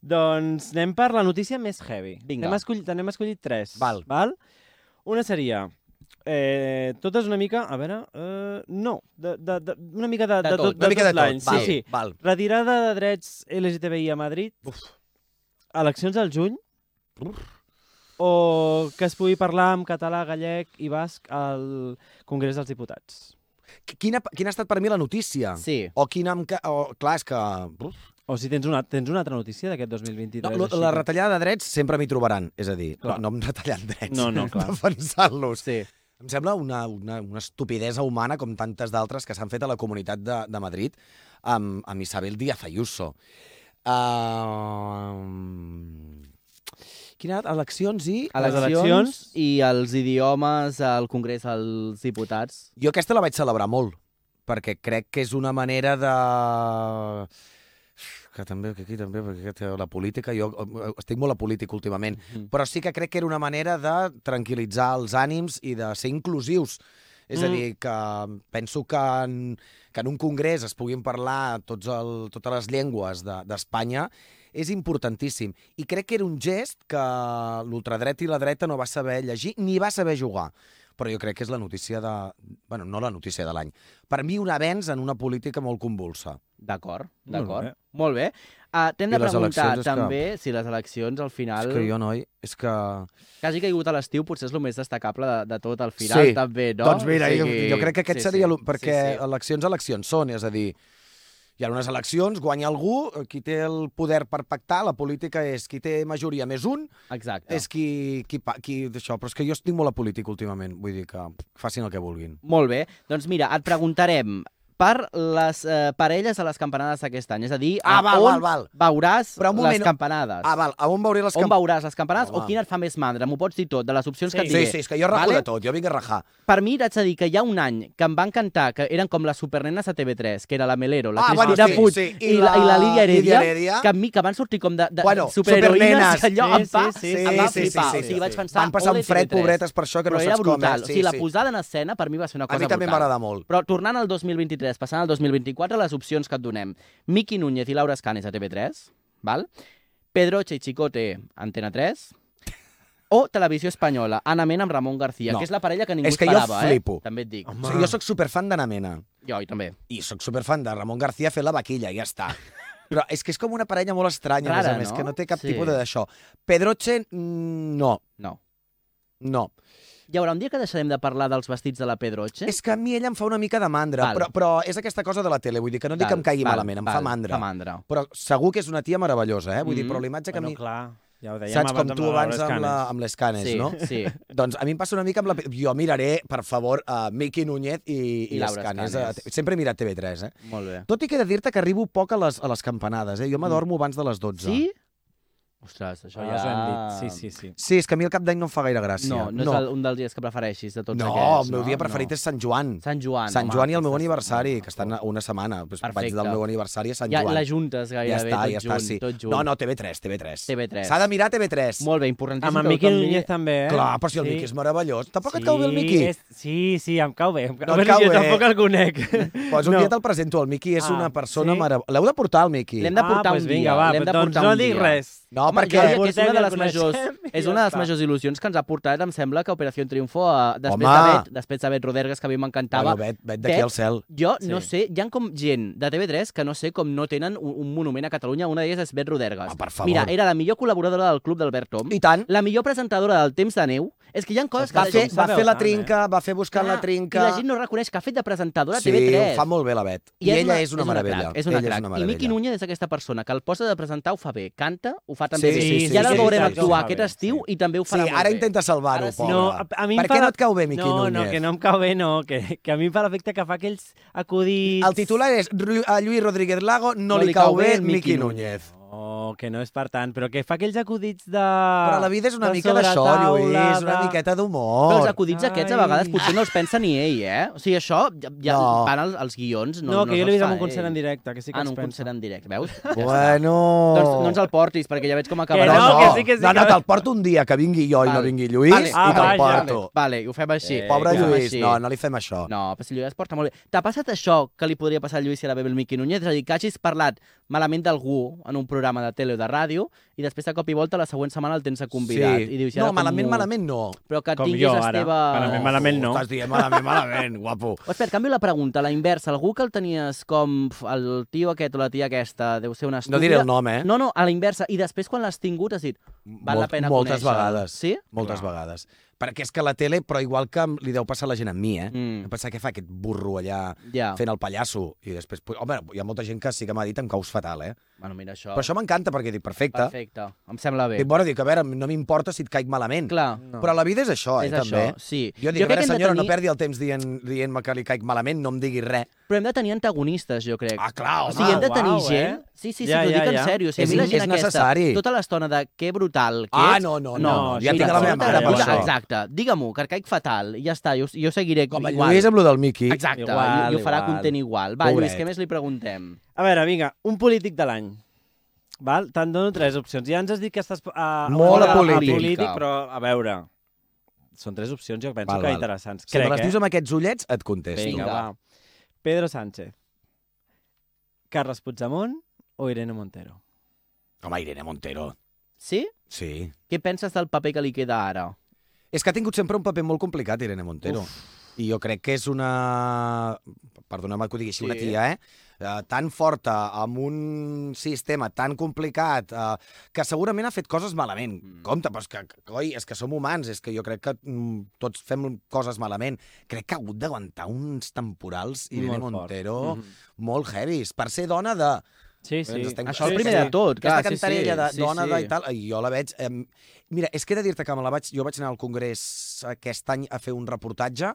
Speaker 2: Doncs anem per la notícia més heavy.
Speaker 3: Vinga.
Speaker 2: N'hem escollit, n'hem escollit tres.
Speaker 4: Val.
Speaker 2: Val? Una seria... Eh, totes una mica... A veure... Eh, no, de, de, de, una mica de,
Speaker 3: De
Speaker 2: de,
Speaker 3: tot,
Speaker 2: tot,
Speaker 4: Una mica de
Speaker 2: tots
Speaker 4: tot.
Speaker 2: l'any,
Speaker 4: Val,
Speaker 2: Sí, sí.
Speaker 4: Val.
Speaker 2: Retirada de drets LGTBI a Madrid. Uf. Eleccions al juny. O que es pugui parlar en català, gallec i basc al Congrés dels Diputats.
Speaker 4: Quina, quina ha estat per mi la notícia?
Speaker 3: Sí.
Speaker 4: O quina... em ca- O, clar, és que... Uf.
Speaker 2: O si tens una, tens una altra notícia d'aquest 2023.
Speaker 4: No, lo-
Speaker 2: així
Speaker 4: la
Speaker 2: que-
Speaker 4: retallada de drets sempre m'hi trobaran, és a dir, no,
Speaker 2: Clar.
Speaker 4: no em retallant drets,
Speaker 2: No, no, clar.
Speaker 4: defensant-los.
Speaker 3: Sí.
Speaker 4: Em sembla una, una, una estupidesa humana com tantes d'altres que s'han fet a la comunitat de, de Madrid amb, amb Isabel Díaz Ayuso. Uh, quina eleccions i...
Speaker 2: les
Speaker 3: Eleccions, eleccions
Speaker 2: eleccions.
Speaker 3: Doncs, i els idiomes al Congrés dels Diputats.
Speaker 4: Jo aquesta la vaig celebrar molt, perquè crec que és una manera de... Que també, que aquí també, perquè aquesta- la política, jo eh, estic molt a política últimament,
Speaker 2: Mhm.
Speaker 4: però sí que crec que era una manera de tranquil·litzar els ànims i de ser inclusius. És a
Speaker 2: Mm.
Speaker 4: dir, que penso que en, que en un congrés es puguin parlar tots el, totes les llengües de- d'Espanya de, és importantíssim. I crec que era un gest que l'ultradreta i la dreta no va saber llegir ni va saber jugar però jo crec que és la notícia de... bueno, no la notícia de l'any. Per mi, un avenç en una política molt convulsa.
Speaker 3: D'acord,
Speaker 2: Molt
Speaker 3: d'acord.
Speaker 2: bé.
Speaker 3: Molt bé. Uh, T'hem de
Speaker 4: I les
Speaker 3: preguntar
Speaker 4: eleccions, és que-
Speaker 3: també si les eleccions al final...
Speaker 4: És que jo, noi, és que...
Speaker 3: Que hagi caigut a l'estiu potser és el més destacable de, de tot al final,
Speaker 4: Sí.
Speaker 3: també, no?
Speaker 4: doncs mira, o sigui... jo, jo crec que aquest sí, seria... Sí, perquè
Speaker 3: Sí, sí.
Speaker 4: eleccions, eleccions són, és a dir, hi ha unes eleccions, guanya algú, qui té el poder per pactar, la política és qui té majoria més un,
Speaker 3: Exacte.
Speaker 4: és qui... qui, pa- qui això. Però és que jo estic molt a política últimament, vull dir que facin el que vulguin.
Speaker 3: Molt bé. Doncs mira, et preguntarem per les eh, parelles a les campanades d'aquest any. És a dir,
Speaker 4: Ah,
Speaker 3: a
Speaker 4: val,
Speaker 3: on
Speaker 4: val, val.
Speaker 3: veuràs
Speaker 4: Però un
Speaker 3: les
Speaker 4: moment-
Speaker 3: campanades.
Speaker 4: Ah, val, a on veuré les
Speaker 3: On
Speaker 4: camp-
Speaker 3: veuràs les campanades
Speaker 4: Home.
Speaker 3: o quina et fa més mandra? M'ho pots dir tot, de les opcions que et
Speaker 4: Sí,
Speaker 3: diré.
Speaker 4: sí, és que jo rajo
Speaker 3: Vale?
Speaker 4: de tot, jo vinc a rajar.
Speaker 3: Per mi, t'haig de dir que hi ha un any que em van cantar, que eren com les supernenes a TV3, que era la Melero, la
Speaker 4: Ah, bueno,
Speaker 3: Cristina
Speaker 4: sí,
Speaker 3: Puig
Speaker 4: sí,
Speaker 3: i, la, i la Lídia Heredia,
Speaker 4: Lídia Heredia.
Speaker 3: que a mi que van sortir com de, de
Speaker 4: Bueno,
Speaker 3: superheroïnes,
Speaker 4: supernenes.
Speaker 3: que allò
Speaker 2: Sí,
Speaker 3: em va,
Speaker 2: sí,
Speaker 4: sí,
Speaker 3: em va
Speaker 4: sí, sí,
Speaker 3: flipar.
Speaker 4: sí,
Speaker 3: o sigui,
Speaker 4: sí,
Speaker 3: vaig
Speaker 2: sí.
Speaker 3: pensar,
Speaker 4: Van passar
Speaker 3: ole,
Speaker 4: un fred,
Speaker 3: TV3.
Speaker 4: pobretes, per això que no
Speaker 3: però era
Speaker 4: saps com
Speaker 3: brutal.
Speaker 4: és.
Speaker 3: o sigui, la posada en escena per mi va ser una cosa
Speaker 4: A mi també
Speaker 3: brutal.
Speaker 4: m'agrada molt.
Speaker 3: Però tornant al 2023, passant al 2024, les opcions que et donem. Miqui Núñez i Laura Escanes a TV3, val? Pedroche i Chicote, Antena 3, o Televisió Espanyola, Ana Mena amb Ramon García,
Speaker 4: No.
Speaker 3: que és la parella que ningú
Speaker 4: És que jo
Speaker 3: esperava,
Speaker 4: flipo.
Speaker 3: eh? També et dic.
Speaker 4: O sigui, jo sóc superfan d'Anna Mena
Speaker 3: Jo, i també.
Speaker 4: i sóc superfan de Ramon García fent la vaquilla, ja està. Però és que és com una parella molt estranya, a més
Speaker 3: Rara,
Speaker 4: a més,
Speaker 3: no?
Speaker 4: que no té cap
Speaker 3: Sí.
Speaker 4: tipus de d'això. Pedroche, mm, no,
Speaker 3: No.
Speaker 4: no.
Speaker 3: Hi haurà un dia que deixarem de parlar dels vestits de la Pedroche?
Speaker 4: És que a mi ella em fa una mica de mandra,
Speaker 3: Eh? Val.
Speaker 4: però, però és aquesta cosa de la tele, vull dir que no dic que em caigui malament, em fa mandra.
Speaker 3: Fa mandra.
Speaker 4: Però segur que és una tia meravellosa, eh? Vull dir,
Speaker 3: Mhm.
Speaker 4: però la imatge que
Speaker 2: Bueno,
Speaker 4: a mi...
Speaker 2: clar, ja ho dèiem
Speaker 4: Saps com
Speaker 2: abans
Speaker 4: tu
Speaker 2: amb,
Speaker 4: abans amb la- amb les canes,
Speaker 3: sí,
Speaker 4: no?
Speaker 3: sí.
Speaker 4: Doncs a mi em passa una mica amb la... Jo miraré, per favor, a Miqui Núñez i, i,
Speaker 3: I
Speaker 4: les
Speaker 3: Laura
Speaker 4: canes.
Speaker 3: Escanes.
Speaker 4: a- Sempre he mirat TV3, eh?
Speaker 3: Molt bé.
Speaker 4: Tot i que he de dir-te que arribo poc a les, a les campanades, eh? Jo m'adormo abans de les 12.
Speaker 3: Sí? Ostres,
Speaker 2: Això
Speaker 3: això ja...
Speaker 2: ja us ho hem dit, sí, sí, sí.
Speaker 4: Sí, és que a mi el cap d'any no em fa gaire gràcia.
Speaker 3: No, no, no. és el, un dels dies que prefereixis de tots
Speaker 4: no
Speaker 3: aquests,
Speaker 4: el meu dia preferit
Speaker 3: no.
Speaker 4: és Sant Joan.
Speaker 3: Sant Joan.
Speaker 4: Sant
Speaker 3: home,
Speaker 4: Joan i el meu
Speaker 3: aquesta
Speaker 4: aniversari,
Speaker 3: setmana.
Speaker 4: que estan a una setmana. Doncs vaig
Speaker 3: Perfecte.
Speaker 4: del meu aniversari a Sant
Speaker 3: ja,
Speaker 4: Joan.
Speaker 3: la juntes gairebé,
Speaker 4: ja està,
Speaker 3: tot
Speaker 4: ja
Speaker 3: junt,
Speaker 4: està, sí.
Speaker 3: tot junt.
Speaker 4: No, no, TV3, TV3.
Speaker 3: TV3.
Speaker 4: S'ha de mirar TV3.
Speaker 3: Molt bé, importantíssim
Speaker 2: Amb en
Speaker 3: que
Speaker 2: Miqui
Speaker 3: tothom
Speaker 2: Núñez
Speaker 3: miri-
Speaker 2: també, eh?
Speaker 4: Clar, però si el Miqui és meravellós. Tampoc et cau bé el Miqui.
Speaker 2: És... Sí, sí, em cau bé. Em cau...
Speaker 4: No
Speaker 2: No
Speaker 4: et
Speaker 2: cau
Speaker 4: cau
Speaker 2: jo
Speaker 4: bé.
Speaker 2: tampoc el conec.
Speaker 4: Pues un dia te'l presento, el Miqui és
Speaker 2: Ah,
Speaker 4: una persona
Speaker 2: sí?
Speaker 4: meravellosa. L'heu de portar, el Miqui.
Speaker 3: L'hem de portar
Speaker 2: ah,
Speaker 3: un
Speaker 2: pues
Speaker 3: dia,
Speaker 2: vinga, va,
Speaker 3: l'hem de
Speaker 2: doncs
Speaker 3: portar
Speaker 2: no
Speaker 3: un
Speaker 2: dic
Speaker 3: dia.
Speaker 2: res.
Speaker 4: No,
Speaker 3: Home,
Speaker 4: perquè...
Speaker 3: jo diria que és
Speaker 2: Portem
Speaker 3: una
Speaker 2: i
Speaker 3: de
Speaker 2: el
Speaker 3: les majors,
Speaker 2: coneixem i
Speaker 3: és
Speaker 2: ja
Speaker 3: una de les
Speaker 2: està.
Speaker 3: majors il·lusions que ens ha portat, em sembla, que Operació Triunfo, eh, després
Speaker 4: Home!
Speaker 3: de Bet, després de Bet Rodergues, que a mi m'encantava.
Speaker 4: Bueno, vet, vet d'aquí
Speaker 3: Bet,
Speaker 4: al cel.
Speaker 3: Jo no
Speaker 2: Sí.
Speaker 3: sé, hi ha com gent de TV3 que no sé com no tenen un, un monument a Catalunya, una d'elles és Bet Rodergues.
Speaker 4: Ah, per favor.
Speaker 3: Mira, era la millor col·laboradora del club d'Albert Tom,
Speaker 4: I tant.
Speaker 3: la millor presentadora del Temps de Neu És que hi ha coses que
Speaker 4: Va
Speaker 2: la
Speaker 4: fer,
Speaker 2: gent
Speaker 4: va
Speaker 2: s'ha
Speaker 4: fer la
Speaker 2: veutant,
Speaker 4: trinca, va fer buscant la
Speaker 3: eh? Ah, I
Speaker 4: trinca...
Speaker 3: la gent no reconeix que ha fet de presentadora a
Speaker 4: Sí,
Speaker 3: TV3.
Speaker 4: ho fa molt bé la Bet. I, ella és una, meravella.
Speaker 3: Crac, és una
Speaker 4: ella
Speaker 3: crac. I Miqui Núñez és aquesta persona que el posa de presentar, ho fa bé, canta, ho fa també
Speaker 4: Sí,
Speaker 3: bé.
Speaker 4: sí, sí,
Speaker 3: I ara
Speaker 4: sí,
Speaker 3: el
Speaker 4: sí,
Speaker 3: veurem
Speaker 4: sí, sí, ho
Speaker 3: actuar
Speaker 2: fa
Speaker 3: aquest
Speaker 2: bé,
Speaker 3: estiu i també ho
Speaker 4: Sí,
Speaker 3: farà molt
Speaker 4: ara
Speaker 3: bé.
Speaker 4: intenta salvar-ho,
Speaker 3: Ara sí.
Speaker 4: pobre.
Speaker 2: No, a, a mi em
Speaker 4: per
Speaker 2: fa
Speaker 4: què
Speaker 2: la-
Speaker 4: no et cau bé, Miqui
Speaker 2: no,
Speaker 4: Núñez?
Speaker 2: No, que no em cau bé, no. Que, que a mi em fa l'efecte que fa aquells acudits...
Speaker 4: El titular és Ru- a Lluís Rodríguez Lago no, li, cau bé el Miqui Núñez.
Speaker 2: Oh, que no és per tant, però que fa aquells acudits de...
Speaker 4: Però la vida és una
Speaker 2: de
Speaker 4: mica d'això,
Speaker 2: sobretaula,
Speaker 4: Lluís, una
Speaker 2: de-
Speaker 3: Però
Speaker 4: miqueta
Speaker 3: els
Speaker 4: d'humor.
Speaker 3: acudits aquests a
Speaker 2: Ai.
Speaker 3: vegades potser no els pensa ni ell, eh? O sigui, això ja, ja
Speaker 4: No.
Speaker 3: van als, als guions, no,
Speaker 2: No, que jo
Speaker 3: no
Speaker 2: l'he
Speaker 3: els
Speaker 2: vist
Speaker 3: fa
Speaker 2: en un concert
Speaker 3: ell.
Speaker 2: en directe, que sí que
Speaker 3: Ah, en
Speaker 2: ens
Speaker 3: un
Speaker 2: pensa.
Speaker 3: concert en directe, veus? Ja està.
Speaker 4: Bueno...
Speaker 3: Doncs no ens el portis, perquè ja veig com
Speaker 4: Però
Speaker 3: acabarà.
Speaker 2: Que no,
Speaker 4: no,
Speaker 2: que sí, que sí,
Speaker 4: no, no,
Speaker 2: que-
Speaker 4: te'l porto un dia que vingui jo i no
Speaker 3: Vale.
Speaker 4: vingui Lluís
Speaker 3: Vale.
Speaker 2: Ah,
Speaker 4: i te'l
Speaker 2: vaja.
Speaker 4: porto.
Speaker 3: Vale, ho fem així.
Speaker 2: Eh,
Speaker 3: ho
Speaker 4: Pobre
Speaker 3: fem
Speaker 4: Lluís,
Speaker 3: així.
Speaker 4: no, no li fem això.
Speaker 3: No, però si Lluís porta molt bé. T'ha passat això que li podria passar a Lluís si era bé el Miqui Núñez? És a dir, que hagis parlat malament d'algú en un programa de tele o de ràdio i després de cop i volta la següent setmana el tens a convidat. I dius, "I ara
Speaker 4: no,
Speaker 3: com
Speaker 4: malament,
Speaker 3: ho-"
Speaker 4: malament no.
Speaker 3: Però que
Speaker 2: Com
Speaker 3: tinguis
Speaker 2: jo,
Speaker 3: les
Speaker 2: ara.
Speaker 3: teves...
Speaker 2: Malament, malament no.
Speaker 4: Estàs dient malament, malament, guapo.
Speaker 3: O espera, canvio la pregunta, la inversa. Algú que el tenies com pf, el tio aquest o la tia aquesta, deu ser una estúpida...
Speaker 4: No diré el nom, eh?
Speaker 3: No, no, a la inversa. I després, quan l'has tingut, has dit, val la pena
Speaker 4: moltes
Speaker 3: conèixer.
Speaker 4: vegades.
Speaker 3: Sí?
Speaker 4: Moltes vegades. Perquè és que la tele, però igual que li deu passar a la gent a mi, eh?
Speaker 3: Mm.
Speaker 4: Mm. Pensar què fa aquest burro allà
Speaker 3: Ja.
Speaker 4: fent el pallasso i després... pu- Home, hi ha molta gent que sí que m'ha dit em caus fatal, eh?
Speaker 3: Bueno, mira això.
Speaker 4: Però això m'encanta perquè dic, perfecte.
Speaker 3: Perfecte. Em sembla bé.
Speaker 4: Dic, bueno, dic, a veure, no m'importa si et caic malament.
Speaker 3: Clar.
Speaker 2: No.
Speaker 4: Però la vida és això,
Speaker 3: és
Speaker 4: eh,
Speaker 3: això,
Speaker 4: també.
Speaker 3: sí.
Speaker 4: Jo dic,
Speaker 3: crec
Speaker 4: jo a veure,
Speaker 3: que hem de
Speaker 4: senyora,
Speaker 3: tenir...
Speaker 4: no perdi el temps dient- dient-me que li caic malament, no em digui res.
Speaker 3: Però hem de tenir antagònics, jo crec.
Speaker 4: Ah, clar,
Speaker 3: o
Speaker 4: home.
Speaker 3: sigui, hem de tenir
Speaker 2: uau,
Speaker 3: gent...
Speaker 2: eh?
Speaker 3: Sí, sí, sí,
Speaker 2: Ja,
Speaker 3: ja, t'ho
Speaker 2: ja,
Speaker 3: dic
Speaker 2: ja.
Speaker 3: en sèrio. O sigui, a
Speaker 4: És-
Speaker 3: mi la gent
Speaker 4: és
Speaker 3: aquesta,
Speaker 4: necessari.
Speaker 3: tota l'estona de que brutal que
Speaker 4: Ah,
Speaker 3: ets...
Speaker 4: no, no,
Speaker 2: no,
Speaker 4: ja
Speaker 3: sí,
Speaker 4: tinc la
Speaker 3: no,
Speaker 4: meva
Speaker 3: no,
Speaker 4: mare
Speaker 3: no,
Speaker 4: per
Speaker 3: no,
Speaker 4: això.
Speaker 3: Exacte, digue-m'ho, que caic fatal, i ja està, jo, jo seguiré
Speaker 4: Com el
Speaker 3: igual.
Speaker 4: Lluís amb lo del Miqui.
Speaker 3: Exacte,
Speaker 2: Igual,
Speaker 3: igual, i ho farà
Speaker 2: igual.
Speaker 3: content igual. Va,
Speaker 4: Pobret.
Speaker 3: Lluís, què més li preguntem?
Speaker 2: A veure, vinga, un polític de l'any. Val? Te'n dono tres opcions. Ja ens has dit que estàs... Uh,
Speaker 4: Molt
Speaker 3: a política.
Speaker 2: polític. Però, a veure, són tres opcions, jo penso
Speaker 4: Val,
Speaker 2: val, que
Speaker 4: val.
Speaker 2: interessants.
Speaker 4: Si me
Speaker 2: Crec, eh?
Speaker 4: les dius amb aquests ullets, et contesto.
Speaker 2: Vinga,
Speaker 3: eh? Vinga.
Speaker 2: va. Pedro Sánchez, Carles Puigdemont o Irene Montero?
Speaker 4: Home, Irene Montero.
Speaker 3: Sí?
Speaker 4: Sí.
Speaker 3: Què penses del paper que li queda ara?
Speaker 4: És que ha tingut sempre un paper molt complicat, Irene Montero. Uf. I jo crec que és una... Perdoneu-me que ho digui així,
Speaker 3: Sí.
Speaker 4: sí. una tia, eh? eh? Tan forta, amb un sistema tan complicat, eh, que segurament ha fet coses malament. Mm.
Speaker 3: Mm.
Speaker 4: Compte, però és que, coi, és que som humans, és que jo crec que mm, tots fem coses malament. Crec que ha hagut d'aguantar uns temporals, Irene
Speaker 2: Molt fort.
Speaker 4: Montero,
Speaker 2: Oh. Mm
Speaker 3: Mm-hmm.
Speaker 4: mm -hmm. molt heavis. Per ser dona de...
Speaker 2: Sí, sí.
Speaker 4: Ens Doncs estem-
Speaker 3: Això
Speaker 4: Sí,
Speaker 3: el primer
Speaker 4: sí.
Speaker 3: de tot, clar,
Speaker 4: Aquesta
Speaker 3: Ah, sí, sí.
Speaker 4: cantarella de
Speaker 3: sí,
Speaker 4: dona
Speaker 3: sí.
Speaker 4: de i tal, ai, jo la veig... Eh, mira, és que he de dir-te que me la vaig, jo vaig anar al Congrés aquest any a fer un reportatge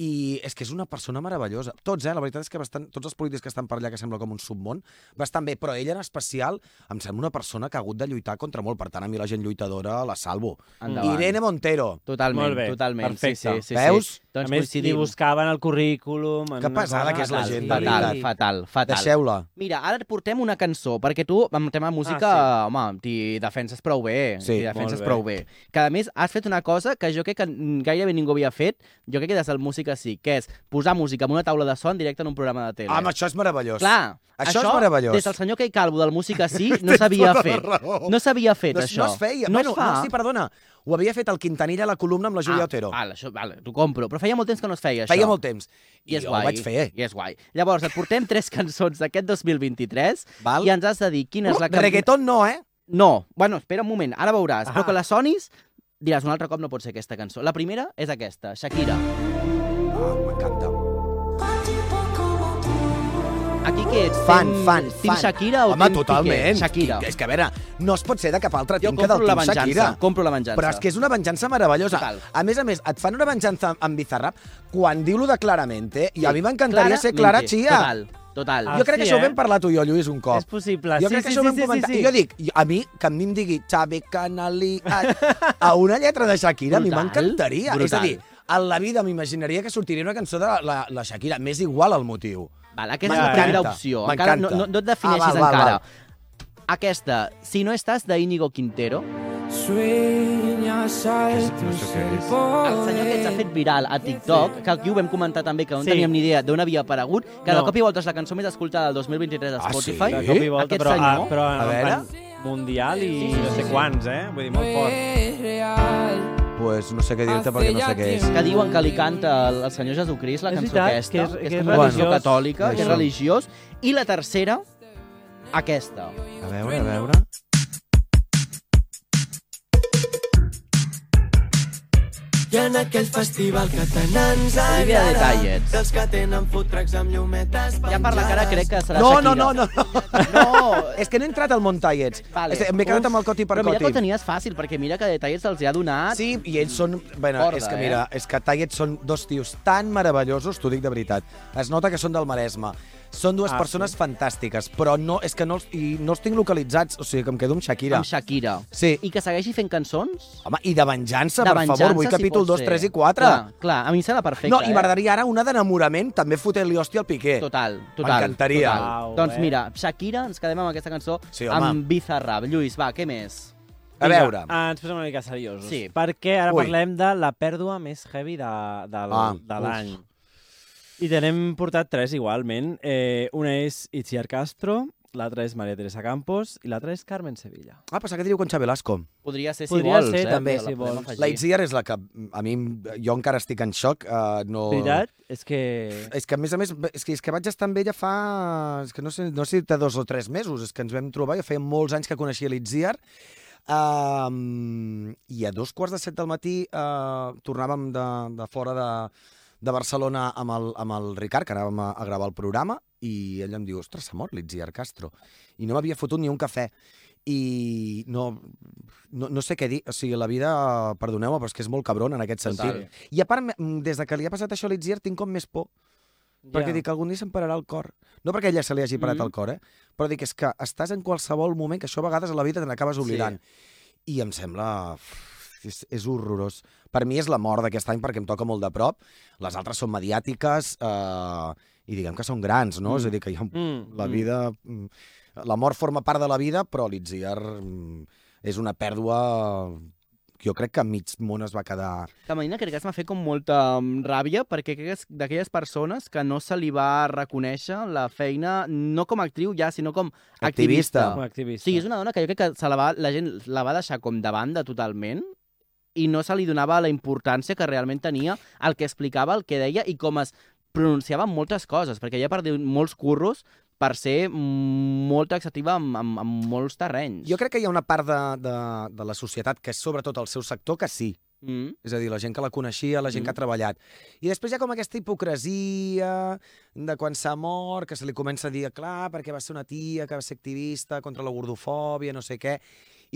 Speaker 4: i és que és una persona meravellosa. Tots, eh? La veritat és que bastant, tots els polítics que estan per allà, que sembla com un submón, bastant bé, però ella en especial em sembla una persona que ha hagut de lluitar contra molt. Per tant, a mi la gent lluitadora la salvo.
Speaker 3: Endavant.
Speaker 4: Irene Montero.
Speaker 3: Totalment,
Speaker 2: Molt bé,
Speaker 3: totalment.
Speaker 2: perfecte.
Speaker 3: Sí, sí, sí,
Speaker 4: Veus?
Speaker 3: Sí. Doncs
Speaker 2: a més, li
Speaker 3: coincidim.
Speaker 2: buscaven el currículum... en
Speaker 4: Que
Speaker 2: una
Speaker 4: pesada
Speaker 2: cosa-
Speaker 4: que és la gent, de
Speaker 3: fatal,
Speaker 4: veritat.
Speaker 3: fatal, fatal.
Speaker 4: Deixeu-la.
Speaker 3: Mira, ara et portem una cançó, perquè tu, amb el tema música, ah, sí. home, t'hi defenses prou bé.
Speaker 4: Sí,
Speaker 3: t'hi
Speaker 2: molt
Speaker 3: defenses
Speaker 2: bé.
Speaker 3: prou bé. Que, a més, has fet una cosa que jo crec que n- gairebé ningú havia fet, jo crec que des del Música sí, que és posar música en una taula de so en directe en un programa de tele.
Speaker 4: Home, això és meravellós.
Speaker 3: Clar,
Speaker 4: Això és meravellós.
Speaker 3: Des del senyor Kei Calvo del Música sí, no s'havia
Speaker 4: tota la
Speaker 3: fet.
Speaker 4: raó.
Speaker 3: No s'havia fet,
Speaker 4: no, es-
Speaker 3: això.
Speaker 4: no es feia.
Speaker 3: No
Speaker 4: bueno,
Speaker 3: es fa.
Speaker 4: no, sí, perdona. Ho havia fet el Quintanilla a la columna amb la Júlia Otero.
Speaker 3: Val, això, val, t'ho compro. Però feia molt temps que no es feia, això.
Speaker 4: Feia molt temps.
Speaker 3: I és
Speaker 4: jo
Speaker 3: guai.
Speaker 4: ho vaig fer.
Speaker 3: I és guai. Llavors, et portem tres cançons d'aquest 2023
Speaker 4: Val.
Speaker 3: i ens has de dir quina és la... que-
Speaker 4: Reggaeton no, eh?
Speaker 3: No, bueno, espera un moment, ara veuràs.
Speaker 2: Ah.
Speaker 3: Però que la sonis, diràs un altre cop no pot ser aquesta cançó. La primera és aquesta, Shakira.
Speaker 4: Ah, m'encanta.
Speaker 3: Aquí què ets?
Speaker 4: Fan,
Speaker 3: team,
Speaker 4: fan,
Speaker 3: team
Speaker 4: fan.
Speaker 3: Shakira o
Speaker 4: Home,
Speaker 3: team
Speaker 4: totalment.
Speaker 3: Piqué? Shakira.
Speaker 4: És que, a veure, no es pot ser de cap altra
Speaker 3: Jo
Speaker 4: tinca
Speaker 3: compro
Speaker 4: del
Speaker 3: la
Speaker 4: Team
Speaker 3: venjança,
Speaker 4: Shakira.
Speaker 3: compro la venjança.
Speaker 4: Però és que és una venjança meravellosa.
Speaker 3: Total.
Speaker 4: A més a més, et fan una venjança amb Bizarrap quan diu-lo de Claramente, i a mi m'encantaria
Speaker 3: Clara
Speaker 4: ser Clara
Speaker 3: Minchi.
Speaker 4: Chia.
Speaker 3: Total, total.
Speaker 2: Ah,
Speaker 4: Jo crec
Speaker 2: sí,
Speaker 4: que això ho
Speaker 2: eh?
Speaker 4: vam parlar tu i jo, Lluís, un cop.
Speaker 2: És possible.
Speaker 4: Jo
Speaker 2: sí,
Speaker 4: crec que
Speaker 2: sí,
Speaker 4: això ho
Speaker 2: sí,
Speaker 4: vam
Speaker 2: sí,
Speaker 4: comentar.
Speaker 2: Sí, sí.
Speaker 4: I jo dic, i a mi, que a mi em digui Xavi Canali... A, a una lletra de Shakira, a mi
Speaker 3: Brutal,
Speaker 4: m'encantaria. És a
Speaker 3: brutal.
Speaker 4: dir, en la vida m'imaginaria que sortiria una cançó de la, la Shakira. M'és igual el motiu.
Speaker 3: Val, aquesta
Speaker 2: M'encanta,
Speaker 3: és la primera opció. Encara no,
Speaker 4: m'encanta.
Speaker 3: no, no et defineixis
Speaker 4: Ah, val, val,
Speaker 3: encara. Aquesta, Si no estàs, de Íñigo Quintero.
Speaker 6: Sueñas al
Speaker 3: El senyor que ens ha fet viral a TikTok, que aquí ho vam comentar també, que no
Speaker 2: Sí.
Speaker 3: sí. teníem ni idea d'on havia aparegut, que no.
Speaker 2: No.
Speaker 3: de cop i volta és la cançó més escoltada del 2023 a
Speaker 4: Ah, sí?
Speaker 3: Spotify.
Speaker 2: De cop i volta,
Speaker 3: Aquest
Speaker 2: però,
Speaker 3: senyor...
Speaker 2: però
Speaker 4: A
Speaker 2: en
Speaker 4: veure.
Speaker 2: plan mundial i no sé quants, eh? Vull dir, molt fort.
Speaker 6: real.
Speaker 4: Pues no sé què dir-te perquè no sé què és.
Speaker 3: que diuen que li canta el, el senyor Jesucrist, la
Speaker 2: És
Speaker 3: cançó
Speaker 2: veritat,
Speaker 3: aquesta,
Speaker 2: que és- que és
Speaker 3: una religió
Speaker 2: religiós.
Speaker 3: catòlica, que és
Speaker 4: Això.
Speaker 3: religiós, i la tercera, aquesta.
Speaker 4: A veure, a veure...
Speaker 7: I en aquell festival que tant ens
Speaker 3: Olivia de
Speaker 7: agrada
Speaker 3: Tallets.
Speaker 7: dels que tenen fotracs amb llumetes
Speaker 3: Ja per la cara crec que serà
Speaker 4: No,
Speaker 3: Shakira.
Speaker 4: no, no, no, no.
Speaker 3: No,
Speaker 4: És que no he entrat al Montallets.
Speaker 3: Vale.
Speaker 4: Vale. M'he quedat
Speaker 3: Uf,
Speaker 4: amb el Coti per
Speaker 3: Però mira que ho
Speaker 4: Coti.
Speaker 3: tenies fàcil, perquè mira que detalls els hi ha donat.
Speaker 4: Sí, i ells són... Bueno,
Speaker 3: Corda,
Speaker 4: és que
Speaker 3: Ah. eh?
Speaker 4: mira, és que Tallets són dos tios tan meravellosos, t'ho dic de veritat. Es nota que són del Maresme. Són dues
Speaker 2: Ah,
Speaker 4: ah, persones sí. fantàstiques, però no, és que no, els- i no els tinc localitzats, o sigui que em quedo amb Shakira.
Speaker 3: amb Shakira.
Speaker 4: Sí.
Speaker 3: I que segueixi fent cançons?
Speaker 4: Home, i de venjança,
Speaker 3: de
Speaker 4: per favor, vull
Speaker 3: venjança,
Speaker 4: capítol
Speaker 3: si pot
Speaker 4: 2,
Speaker 3: ser.
Speaker 4: 3 i 4.
Speaker 3: Clar, clar, a mi em sembla perfecte.
Speaker 4: no, i
Speaker 3: eh?
Speaker 4: m'agradaria ara una d'enamorament, també fotent-li hòstia al Piqué.
Speaker 3: Total, total.
Speaker 4: Eh, M'encantaria.
Speaker 3: total.
Speaker 2: Au,
Speaker 3: doncs
Speaker 2: eh?
Speaker 3: mira, Shakira, ens quedem amb aquesta cançó
Speaker 4: Sí, home.
Speaker 3: amb Bizarrap. Lluís, va, què més?
Speaker 2: Vinga,
Speaker 4: A
Speaker 3: Ah.
Speaker 4: veure.
Speaker 2: eh, ens posem una mica seriosos.
Speaker 3: Sí.
Speaker 2: Perquè ara
Speaker 4: Ui.
Speaker 2: parlem de la pèrdua més heavy de, de,
Speaker 4: Ah,
Speaker 2: de l'any. I tenem portat tres igualment. Eh, una és Itziar Castro, l'altra és Maria Teresa Campos i l'altra és Carmen Sevilla.
Speaker 4: Ah, pensava que diríeu Concha Velasco.
Speaker 3: Podria ser si
Speaker 2: Podria
Speaker 3: vols,
Speaker 2: ser,
Speaker 3: eh?
Speaker 2: també,
Speaker 3: però la
Speaker 2: si
Speaker 3: podem
Speaker 2: vols.
Speaker 3: afegir.
Speaker 4: La Itziar és la que a mi, jo encara estic en xoc. Uh, no...
Speaker 2: Oh. Veritat? És que...
Speaker 4: És que, a més a més, és que, és que vaig estar amb ella fa... És que no sé, no sé si de dos o tres mesos. És que ens vam trobar, jo feia molts anys que coneixia l'Itziar. Um, I a dos quarts de set del matí uh, tornàvem de, de fora de, de Barcelona amb el, amb el Ricard, que anàvem a, a gravar el programa, i ell em diu, ostres, s'ha mort l'Itziar Castro. I no m'havia fotut ni un cafè. I no, no, no sé què dir. O sigui, la vida, perdoneu-me, però és que és molt cabron en aquest sentit.
Speaker 3: Total.
Speaker 4: I a part, m- des de que li ha passat això a l'Itziar, tinc com més por.
Speaker 2: Ja. Mm-hmm.
Speaker 4: Perquè dic, algun dia se'm pararà el cor. No perquè a ella se li hagi parat
Speaker 3: Mhm.
Speaker 4: el cor, eh? Però dic, és que estàs en qualsevol moment, que això a vegades a la vida te n'acabes oblidant. I em sembla... És, és horrorós. Per mi és la mort d'aquest any perquè em toca molt de prop. Les altres són mediàtiques eh, i diguem que són grans, no? Mm. És a dir, que hi ha un
Speaker 2: Mm,
Speaker 4: la
Speaker 2: mm.
Speaker 4: vida... mm, La mort forma part de la vida, però l'Itziar mm, és una pèrdua... Jo crec que mig món es va quedar...
Speaker 3: Que Marina crec que es m'ha fet com molta mm, ràbia perquè crec que és d'aquelles persones que no se li va reconèixer la feina no com a actriu ja, sinó com activista.
Speaker 4: Activista.
Speaker 2: Com a activista.
Speaker 3: Sí, és una dona que jo crec que se la, va, la gent la va deixar com de banda totalment i no se li donava la importància que realment tenia el que explicava, el que deia i com es pronunciava en moltes coses, perquè ella perdia molts curros per ser molt taxativa en, en, en molts terrenys.
Speaker 4: Jo crec que hi ha una part de, de, de la societat, que és sobretot el seu sector, que sí.
Speaker 3: Mm.
Speaker 4: És a dir, la gent que la coneixia, la gent que
Speaker 3: Mm.
Speaker 4: ha treballat. I després hi ha com aquesta hipocresia de quan s'ha mort, que se li comença a dir, clar, perquè va ser una tia que va ser activista contra la gordofòbia, no sé què,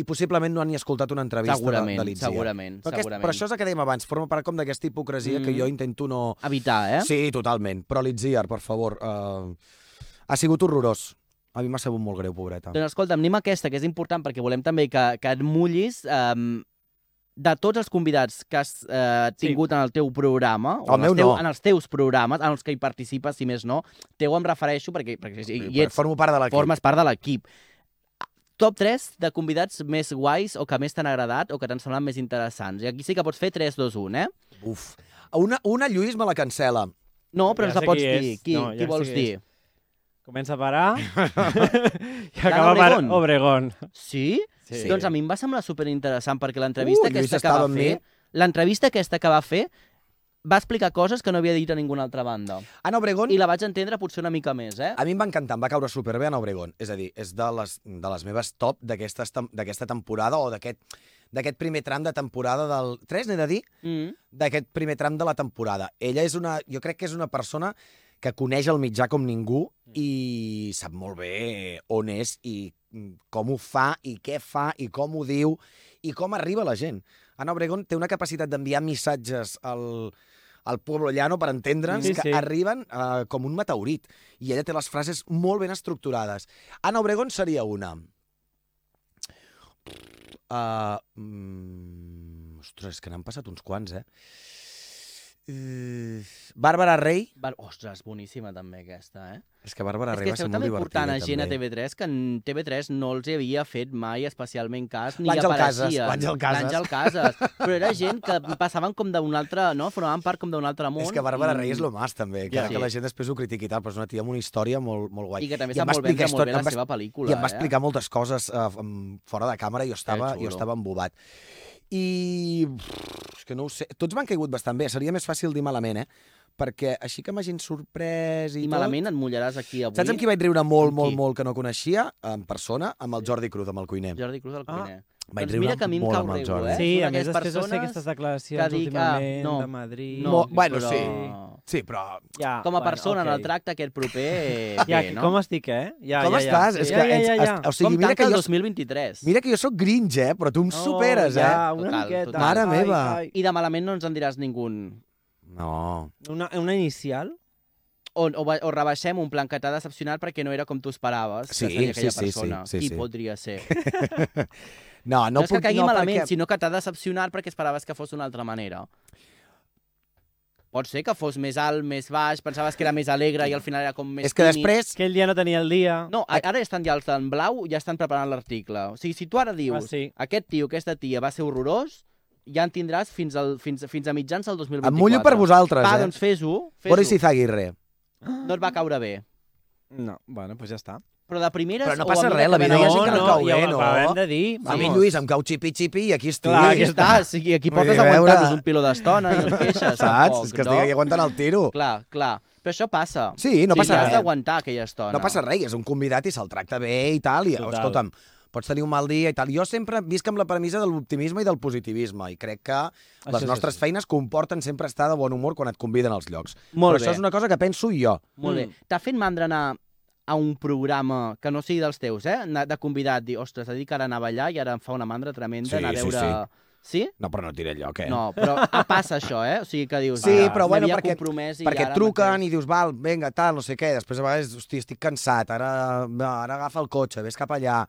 Speaker 4: i possiblement no han ni escoltat una entrevista
Speaker 3: Segurament,
Speaker 4: de, de l'Itziar.
Speaker 3: segurament,
Speaker 4: Però, aquest,
Speaker 3: segurament.
Speaker 4: però això és el que dèiem abans, forma part com d'aquesta hipocresia mm. que
Speaker 3: Mhm.
Speaker 4: jo intento no...
Speaker 3: Evitar, eh?
Speaker 4: Sí, totalment. Però l'Itziar, per favor, uh, ha sigut horrorós. A mi m'ha sabut molt greu, pobreta.
Speaker 3: Doncs escolta'm, anem a aquesta, que és important, perquè volem també que, que et mullis um, de tots els convidats que has eh, tingut sí. en el teu programa,
Speaker 4: El
Speaker 3: en, els
Speaker 4: meu no.
Speaker 3: en els teus programes, en els que hi participes, si més no, teu em refereixo perquè, perquè hi, hi
Speaker 4: Però
Speaker 3: ets,
Speaker 4: Formo part de l'equip.
Speaker 3: formes part de l'equip. Top 3 de convidats més guais o que més t'han agradat o que t'han semblat més interessants. I aquí sí que pots fer 3, 2, 1, eh?
Speaker 4: Uf. Una, una Lluís me la cancela.
Speaker 3: No, però
Speaker 2: Ja
Speaker 3: ens la
Speaker 2: sé
Speaker 3: pots
Speaker 2: qui
Speaker 3: dir.
Speaker 2: és.
Speaker 3: Qui,
Speaker 2: No, ja
Speaker 3: qui
Speaker 2: sé
Speaker 3: vols
Speaker 2: qui
Speaker 3: dir?
Speaker 2: és. Comença per A i
Speaker 3: Dan
Speaker 2: acaba per
Speaker 3: Obregón. Eh?
Speaker 2: Obregón.
Speaker 3: Sí?
Speaker 2: Sí.
Speaker 3: Doncs a mi em va semblar superinteressant perquè l'entrevista
Speaker 4: Uh, Lluís
Speaker 3: aquesta que
Speaker 4: estava
Speaker 3: va
Speaker 4: amb
Speaker 3: fer...
Speaker 4: mi.
Speaker 3: L'entrevista aquesta que va fer va explicar coses que no havia dit a ninguna altra banda.
Speaker 4: Ana Obregón,
Speaker 3: I la vaig entendre potser una mica més, eh?
Speaker 4: a mi em va encantar, em va caure superbé Ana Obregón. És a dir, és de les, de les meves top d'aquestes tem- d'aquesta temporada o d'aquest d'aquest primer tram de temporada del... 3, n'he de dir?
Speaker 3: Mm.
Speaker 4: d'aquest primer tram de la temporada. Ella és una, jo crec que és una persona que coneix el mitjà com ningú i sap molt bé on és i mm, com ho fa i què fa i com ho diu i com arriba a la gent. Ana Obregón té una capacitat d'enviar missatges al, al pueblo llano, per entendre'ns,
Speaker 2: Sí,
Speaker 4: sí, sí.
Speaker 2: sí.
Speaker 4: que arriben eh, com un meteorit. I ella té les frases molt ben estructurades. Ana Obregón seria una. Uh, mm, ostres, que n'han passat uns quants, eh? Uh, Bàrbara Rey.
Speaker 3: Va... Ostres, boníssima també aquesta, eh?
Speaker 4: És que Bàrbara
Speaker 3: és
Speaker 4: Rey
Speaker 3: que
Speaker 4: va ser
Speaker 3: esteu
Speaker 4: molt
Speaker 3: també
Speaker 4: divertida.
Speaker 3: portant a gent a
Speaker 4: també.
Speaker 3: TV3 que en TV3 no els hi havia fet mai especialment cas ni
Speaker 4: L'Àngel
Speaker 3: apareixien.
Speaker 4: Casas, l'Àngel Casas.
Speaker 3: L'Àngel Casas. Però era gent que passaven com d'un altre, no? Formaven part com d'un altre món.
Speaker 4: És que Bàrbara
Speaker 3: i-
Speaker 4: Rey és lo más, també. Que,
Speaker 3: Ja.
Speaker 4: ja. que la gent després ho critiqui i tal, però és una tia amb una història molt, molt guai.
Speaker 3: I que també
Speaker 4: em
Speaker 3: sap
Speaker 4: va
Speaker 3: molt vendre
Speaker 4: explicar
Speaker 3: molt bé
Speaker 4: història-
Speaker 3: la
Speaker 4: em va-
Speaker 3: seva pel·lícula,
Speaker 4: I em va
Speaker 3: eh?
Speaker 4: explicar moltes coses eh, em- fora de càmera i jo estava,
Speaker 3: xulo.
Speaker 4: jo estava embobat. I... pff, És que no ho sé. Tots m'han caigut bastant bé. Seria més fàcil dir malament, eh? Perquè així que m'hagin sorprès i,
Speaker 3: I
Speaker 4: tot...
Speaker 3: malament et mullaràs aquí avui.
Speaker 4: Saps amb qui vaig riure molt,
Speaker 3: Amb
Speaker 4: molt,
Speaker 3: qui?
Speaker 4: molt que no coneixia? En persona, amb el Jordi Cruz, amb el cuiner.
Speaker 3: Jordi Cruz del
Speaker 2: Ah.
Speaker 3: cuiner.
Speaker 4: Vaig
Speaker 3: Doncs
Speaker 4: riure
Speaker 3: mira que a mi em
Speaker 4: molt
Speaker 3: cau
Speaker 4: amb el
Speaker 3: riure,
Speaker 4: Jordi.
Speaker 3: eh?
Speaker 2: Sí, a
Speaker 3: Són
Speaker 2: més
Speaker 3: aquelles
Speaker 2: després de fer
Speaker 3: persones
Speaker 2: aquestes
Speaker 3: que
Speaker 2: declaracions
Speaker 3: dic, ah,
Speaker 2: últimament
Speaker 3: no,
Speaker 2: de Madrid...
Speaker 3: No,
Speaker 4: Mo- bueno,
Speaker 3: però...
Speaker 4: sí.
Speaker 3: Ah,
Speaker 4: Sí, però...
Speaker 2: Ja,
Speaker 3: Com a
Speaker 2: bueno,
Speaker 3: persona, en
Speaker 2: ok.
Speaker 3: el tracte aquest proper...
Speaker 2: Ja,
Speaker 3: bé, no?
Speaker 2: com estic, eh? Ja,
Speaker 4: Com
Speaker 2: ja, ja.
Speaker 4: estàs?
Speaker 2: Sí,
Speaker 4: És
Speaker 2: ja,
Speaker 4: que
Speaker 2: ja,
Speaker 4: ets-
Speaker 2: ja, ja.
Speaker 4: es- o sigui,
Speaker 3: com
Speaker 4: mira
Speaker 3: tanca
Speaker 4: que
Speaker 3: el
Speaker 4: jo-
Speaker 3: 2023?
Speaker 4: Mira que jo sóc gringe, eh? Però tu em
Speaker 2: oh,
Speaker 4: superes, eh?
Speaker 2: ja, una
Speaker 3: Total,
Speaker 2: miqueta.
Speaker 3: total.
Speaker 4: Mare
Speaker 2: Ai,
Speaker 4: meva.
Speaker 2: ai.
Speaker 3: I de malament no ens en diràs ningú.
Speaker 4: No.
Speaker 2: Una, una inicial?
Speaker 3: O, o, ba- o rebaixem un plan que t'ha decepcionat perquè no era com tu esperaves
Speaker 4: Sí,
Speaker 3: que seria aquella
Speaker 4: sí, sí, sí,
Speaker 3: persona.
Speaker 4: sí,
Speaker 3: Qui
Speaker 4: sí.
Speaker 3: podria ser?
Speaker 4: No,
Speaker 3: No,
Speaker 4: no,
Speaker 3: no és que
Speaker 4: puc-
Speaker 3: caigui
Speaker 4: no,
Speaker 3: malament,
Speaker 4: perquè-
Speaker 3: sinó que t'ha decepcionat perquè esperaves que fos d'una altra manera. Pot ser que fos més alt, més baix, pensaves que era més alegre i al final era com més
Speaker 4: És que
Speaker 3: tímid.
Speaker 4: després...
Speaker 2: Aquell dia no tenia el dia.
Speaker 3: No, a- ara ja estan ja els en blau, ja estan preparant l'article. O sigui, si tu ara dius,
Speaker 2: Ah, sí.
Speaker 3: aquest tio, aquesta tia va ser horrorós, ja en tindràs fins, al, fins, fins a mitjans del 2024.
Speaker 4: Em mullo per vosaltres,
Speaker 3: Va,
Speaker 4: eh?
Speaker 3: doncs fes-ho, fes-ho.
Speaker 4: Boris Izaguirre.
Speaker 3: No et va caure bé.
Speaker 2: No, bueno, doncs ja està.
Speaker 3: Però de primeres...
Speaker 4: Però no
Speaker 3: o a
Speaker 4: passa
Speaker 3: mesura
Speaker 4: res, la
Speaker 3: que
Speaker 4: vida
Speaker 3: va-
Speaker 4: ja sé que no et cau
Speaker 2: ja
Speaker 4: bé,
Speaker 2: ho
Speaker 4: no?
Speaker 2: acabem de dir.
Speaker 4: A mi,
Speaker 2: vamos.
Speaker 4: Lluís, em cau xipi-xipi i aquí estic.
Speaker 2: Clar, aquí
Speaker 3: Aquí està, o sigui, aquí
Speaker 4: Vull
Speaker 3: portes
Speaker 4: dir, a veure-
Speaker 3: aguantar-nos un piló d'estona i et queixes.
Speaker 4: Saps?
Speaker 3: tampoc,
Speaker 4: És
Speaker 3: no?
Speaker 4: que estic aquí aguantant el tiro.
Speaker 3: Clar, clar. Però això passa.
Speaker 4: Sí, no
Speaker 3: O sigui,
Speaker 4: passa
Speaker 3: has
Speaker 4: res.
Speaker 3: d'aguantar aquella estona.
Speaker 4: No passa res, és un convidat i se'l tracta bé i tal, i
Speaker 2: Total.
Speaker 4: escolta'm, pots tenir un mal dia i tal. Jo sempre visc amb la premissa de l'optimisme i del positivisme i crec que les
Speaker 2: és
Speaker 4: nostres feines comporten sempre estar de bon humor quan et conviden als llocs.
Speaker 3: Molt
Speaker 4: Però
Speaker 3: bé.
Speaker 4: això és una cosa que penso jo.
Speaker 3: Molt bé.
Speaker 2: Mm.
Speaker 3: T'ha fet mandra anar a un programa que no sigui dels teus, eh? Anar De convidat, dir, ostres, ha dit que ara anar a ballar i ara em fa una mandra tremenda
Speaker 4: Sí,
Speaker 3: anar a
Speaker 4: sí,
Speaker 3: veure... Sí?
Speaker 4: No, però no et diré lloc, eh?
Speaker 3: No, però ah, passa això, eh? O sigui que dius...
Speaker 4: Sí,
Speaker 3: "Ah,
Speaker 4: però bueno,
Speaker 3: m'havia
Speaker 4: perquè-
Speaker 3: compromès i
Speaker 4: Perquè et
Speaker 3: ara
Speaker 4: truquen
Speaker 3: mateix".
Speaker 4: i dius, val, vinga, tal, no sé què. Després a vegades, hosti, estic cansat, ara, ara agafa el cotxe, ves cap allà.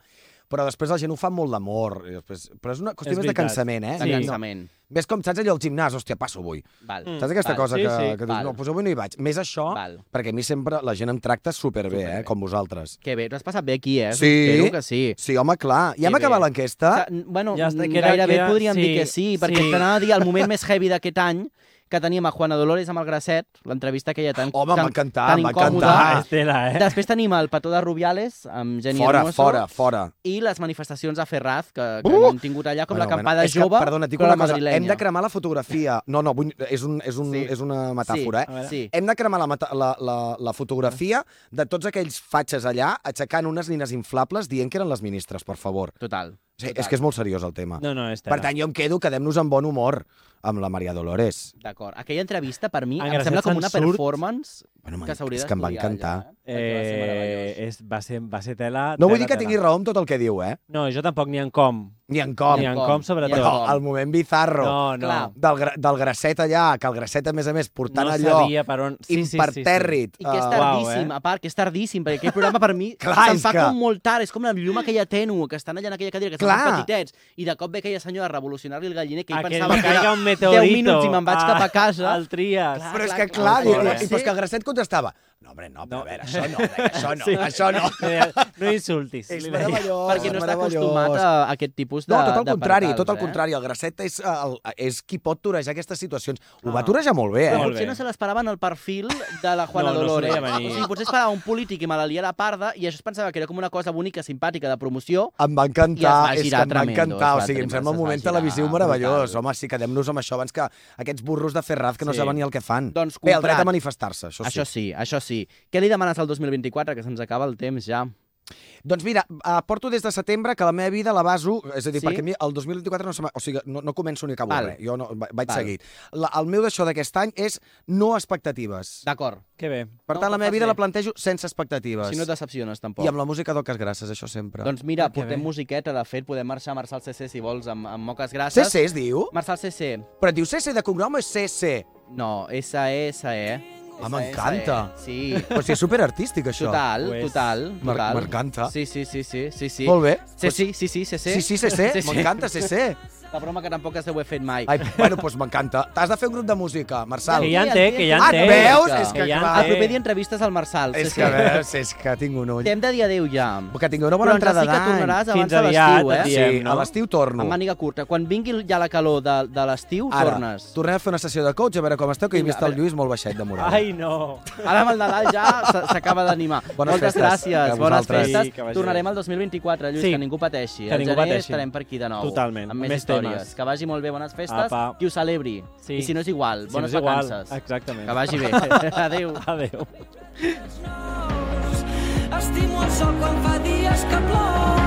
Speaker 4: Però després la gent ho fa amb molt d'amor. i Després... Però és una qüestió
Speaker 2: És
Speaker 4: més de
Speaker 2: veritat.
Speaker 4: cansament, eh?
Speaker 2: Sí.
Speaker 3: De
Speaker 4: No.
Speaker 3: cansament.
Speaker 4: Ves com saps allò al gimnàs, hòstia, passo avui.
Speaker 3: Val.
Speaker 2: Mm.
Speaker 4: Saps aquesta
Speaker 3: Mm, val,
Speaker 4: cosa
Speaker 2: sí,
Speaker 4: que,
Speaker 2: sí,
Speaker 4: que dius,
Speaker 3: val.
Speaker 4: no, pues avui no hi vaig. Més això,
Speaker 3: Val.
Speaker 4: perquè a mi sempre la gent em tracta superbé,
Speaker 3: Superbé.
Speaker 4: eh, com vosaltres.
Speaker 3: Que bé, t'ho has passat bé aquí, eh?
Speaker 4: Sí. Ah.
Speaker 3: Espero que sí.
Speaker 4: Sí, home, clar. Ja
Speaker 3: Que
Speaker 4: hem acabat
Speaker 3: bé.
Speaker 4: l'enquesta.
Speaker 3: Sa- n- Bueno,
Speaker 2: Ja
Speaker 3: ja
Speaker 2: està,
Speaker 3: està,
Speaker 2: que era-
Speaker 3: gairebé
Speaker 2: que era-
Speaker 3: podríem dir
Speaker 2: sí,
Speaker 3: que sí, perquè
Speaker 2: sí.
Speaker 3: sí. t'anava a dir el moment més heavy d'aquest any, que teníem a Juana Dolores amb el Gracet, l'entrevista aquella tan,
Speaker 4: Home,
Speaker 3: tan,
Speaker 4: m'ha encantat,
Speaker 3: tan
Speaker 4: m'ha
Speaker 3: incòmoda.
Speaker 4: encantat.
Speaker 2: Ah, Estela, eh?
Speaker 3: Després tenim el Pató de Rubiales, amb Geni
Speaker 4: Fora,
Speaker 3: Hermoso,
Speaker 4: fora, fora.
Speaker 3: i les manifestacions a Ferraz, que, que
Speaker 4: Uh!
Speaker 3: no hem tingut allà, com l'acampada
Speaker 4: és que,
Speaker 3: jove,
Speaker 4: Perdona, et dic
Speaker 3: però
Speaker 4: una
Speaker 3: la
Speaker 4: cosa.
Speaker 3: madrilenya.
Speaker 4: Hem de cremar la fotografia. No, no, vull, és, un, és, un,
Speaker 3: Sí.
Speaker 4: sí. és una metàfora,
Speaker 3: sí, Ah.
Speaker 4: eh?
Speaker 3: Sí.
Speaker 4: Hem de cremar la, meta- la, la, la fotografia de tots aquells fatxes allà aixecant unes nines inflables dient que eren les ministres, per favor.
Speaker 3: Total.
Speaker 4: O sigui, és que és molt seriós el tema.
Speaker 2: No, no, Estela.
Speaker 4: per tant, jo em quedo, quedem-nos amb bon humor amb la Maria Dolores.
Speaker 3: D'acord. Aquella entrevista, per mi,
Speaker 2: En
Speaker 3: em
Speaker 2: Gracet
Speaker 3: sembla com
Speaker 2: Ah, se'n
Speaker 3: una
Speaker 2: surt.
Speaker 3: performance
Speaker 4: Bueno,
Speaker 3: que
Speaker 4: man,
Speaker 3: s'hauria
Speaker 4: és que em va
Speaker 3: d'estudiar
Speaker 4: encantar.
Speaker 3: allà, eh? Perquè va ser meravellós.
Speaker 2: Eh, és, va, ser, va ser tela...
Speaker 4: No vull
Speaker 2: tela,
Speaker 4: dir que
Speaker 2: tela.
Speaker 4: tingui raó amb tot el que diu, eh?
Speaker 2: No, jo tampoc, ni en com.
Speaker 4: Ni en com.
Speaker 2: Ni en com, sobretot.
Speaker 4: Però
Speaker 3: com.
Speaker 4: el moment bizarro
Speaker 2: No,
Speaker 4: no.
Speaker 2: no.
Speaker 3: Clar.
Speaker 4: del, gra- del grasset allà, que el grasset, a més a més, portant
Speaker 2: no
Speaker 4: allò
Speaker 2: sabia per on... Sí, sí, sí, sí.
Speaker 4: impertèrrit.
Speaker 3: I que és
Speaker 4: eh,
Speaker 3: tardíssim,
Speaker 2: uau,
Speaker 3: a part, que és tardíssim, perquè aquell programa per mi
Speaker 4: Clar,
Speaker 3: se'n
Speaker 4: és
Speaker 3: fa
Speaker 4: que-
Speaker 3: com molt tard, és com la llum aquella tènua, que estan allà en aquella cadira, que
Speaker 4: Clar.
Speaker 3: estan petitets, i de cop ve aquella senyora a revolucionar-li el galliner, que ell
Speaker 2: Aquell
Speaker 3: pensava
Speaker 2: que
Speaker 3: que era
Speaker 2: caiga un
Speaker 3: 10
Speaker 2: meteorito. Ah,
Speaker 3: minuts i me'n vaig cap a casa.
Speaker 2: El Trias.
Speaker 3: Clar.
Speaker 4: Però és que, clar,
Speaker 3: clar,
Speaker 4: diu,
Speaker 2: Ah, clar,
Speaker 4: i,
Speaker 3: sí.
Speaker 4: però és que el grasset contestava no, home, no, però a veure, això no, deia, això no,
Speaker 2: Sí.
Speaker 4: això no.
Speaker 2: No insultis.
Speaker 4: És
Speaker 2: li deia.
Speaker 4: meravellós,
Speaker 3: perquè no
Speaker 4: és
Speaker 3: està
Speaker 4: meravellós.
Speaker 3: acostumat a aquest tipus de
Speaker 4: No, tot el
Speaker 3: de
Speaker 4: contrari,
Speaker 3: percals,
Speaker 4: tot el
Speaker 3: eh?
Speaker 4: contrari. El Gracet és, eh, el, és qui pot torejar aquestes situacions. Ho va torejar molt bé, eh?
Speaker 3: Però
Speaker 2: Molt
Speaker 3: potser
Speaker 2: bé.
Speaker 3: no se l'esperava en el perfil de la Juana
Speaker 2: No, no s'ho
Speaker 3: Dolores.
Speaker 2: veia venir.
Speaker 3: o sigui, potser esperava un polític i me la lia la parda i això es pensava que era com una cosa bonica, simpàtica, de promoció.
Speaker 4: Em va
Speaker 3: I es
Speaker 4: encantar,
Speaker 3: va
Speaker 4: és que
Speaker 3: girar
Speaker 4: em va
Speaker 3: tremendo,
Speaker 4: encantar.
Speaker 3: es
Speaker 4: O
Speaker 3: va
Speaker 4: sigui, em
Speaker 3: tremendo,
Speaker 4: sembla un
Speaker 3: es va
Speaker 4: moment
Speaker 3: girar
Speaker 4: televisiu meravellós.
Speaker 3: brutal.
Speaker 4: Home, sí, quedem-nos amb això abans que aquests burros de Ferraz que no
Speaker 2: Sí.
Speaker 4: saben ni el que fan.
Speaker 3: Doncs
Speaker 4: Bé, el dret
Speaker 3: comprat.
Speaker 4: a manifestar-se, això sí.
Speaker 3: Això sí, això sí. Què li demanes al 2024, que se'ns acaba el temps ja?
Speaker 4: Doncs mira, eh, porto des de setembre que la meva vida la baso, és a dir,
Speaker 3: Sí?
Speaker 4: sí? perquè a mi el 2024 no, se m'ha- o sigui, no, no començo ni acabo
Speaker 3: Val.
Speaker 4: Val. res, jo no, va-
Speaker 3: Val.
Speaker 4: vaig Val. seguit. La, el meu d'això d'aquest any és no expectatives.
Speaker 3: D'acord.
Speaker 2: Que bé.
Speaker 4: Per
Speaker 3: No,
Speaker 4: tant,
Speaker 3: ho
Speaker 4: la meva
Speaker 3: fas
Speaker 4: vida
Speaker 3: bé.
Speaker 4: la plantejo sense expectatives.
Speaker 3: Si no et decepciones, tampoc.
Speaker 4: I amb la música d'Oques Grasses, això sempre.
Speaker 3: Doncs mira,
Speaker 2: Ah, que
Speaker 3: portem
Speaker 2: bé.
Speaker 3: musiqueta, de fet, podem marxar a Marçal CC, si vols, amb, amb moques grasses.
Speaker 4: CC es diu?
Speaker 3: Marçal CC.
Speaker 4: Però et diu CC de cognom o és CC?
Speaker 3: No, E S-E, S-E.
Speaker 4: Ah, m'encanta.
Speaker 3: Sí.
Speaker 4: Però si és superartístic, això.
Speaker 3: Total,
Speaker 2: Ho és.
Speaker 3: total,
Speaker 4: M'ar-
Speaker 3: total.
Speaker 4: m'encanta.
Speaker 3: Sí, sí, sí, sí, sí, sí.
Speaker 4: Molt bé.
Speaker 3: Sí, sí, sí, sí, sí, sí.
Speaker 4: Sí, sí, CC, m'encanta CC.
Speaker 3: La broma que tampoc es deu haver fet mai.
Speaker 4: Ai, bueno, doncs m'encanta. T'has de fer un grup de música, Marçal.
Speaker 2: Que ja en té, que ja
Speaker 4: Ah,
Speaker 2: en té.
Speaker 4: veus? És que
Speaker 2: ja en
Speaker 4: clar.
Speaker 2: té.
Speaker 3: El proper dia entrevistes al Marçal.
Speaker 4: És
Speaker 3: sí,
Speaker 4: que,
Speaker 3: sí.
Speaker 4: veus, és que tinc un ull.
Speaker 3: T'hem de dir adéu ja.
Speaker 4: Que tingueu una bona
Speaker 3: Però
Speaker 4: entrada
Speaker 3: sí que
Speaker 4: d'any.
Speaker 3: tornaràs
Speaker 2: Fins
Speaker 3: abans de
Speaker 2: aviat,
Speaker 3: l'estiu, eh?
Speaker 2: et
Speaker 4: Sí,
Speaker 2: diem, no?
Speaker 4: a l'estiu torno.
Speaker 3: Amb màniga curta. Quan vingui ja la calor de, de l'estiu,
Speaker 4: Ara,
Speaker 3: tornes.
Speaker 4: tornem a fer una sessió de coach, a veure com esteu, que he
Speaker 3: Vinga,
Speaker 4: vist
Speaker 3: a
Speaker 4: el
Speaker 3: veure.
Speaker 4: Lluís molt baixet de moral.
Speaker 2: Ai, no.
Speaker 3: Ara amb el Nadal ja s- s'acaba d'animar.
Speaker 4: Bones
Speaker 3: Moltes
Speaker 4: festes
Speaker 3: gràcies,
Speaker 4: a
Speaker 3: bones
Speaker 4: vosaltres.
Speaker 3: festes.
Speaker 2: Sí, que vagi
Speaker 3: Tornarem al 2024, Lluís,
Speaker 2: Sí.
Speaker 3: que ningú pateixi. eh?
Speaker 2: Que
Speaker 3: Al
Speaker 2: ningú
Speaker 3: gener
Speaker 2: pateixi.
Speaker 3: estarem per aquí de nou.
Speaker 2: Totalment,
Speaker 3: Amb més,
Speaker 2: més
Speaker 3: històries.
Speaker 2: temes.
Speaker 3: Que vagi molt bé, bones festes.
Speaker 2: Apa.
Speaker 3: Que ho celebri.
Speaker 2: Sí.
Speaker 3: I si no és igual, bones
Speaker 2: si no és igual,
Speaker 3: vacances.
Speaker 2: Exactament.
Speaker 3: Que vagi bé. Adéu.
Speaker 2: Adéu.
Speaker 5: Estimo el sol quan fa dies que plou.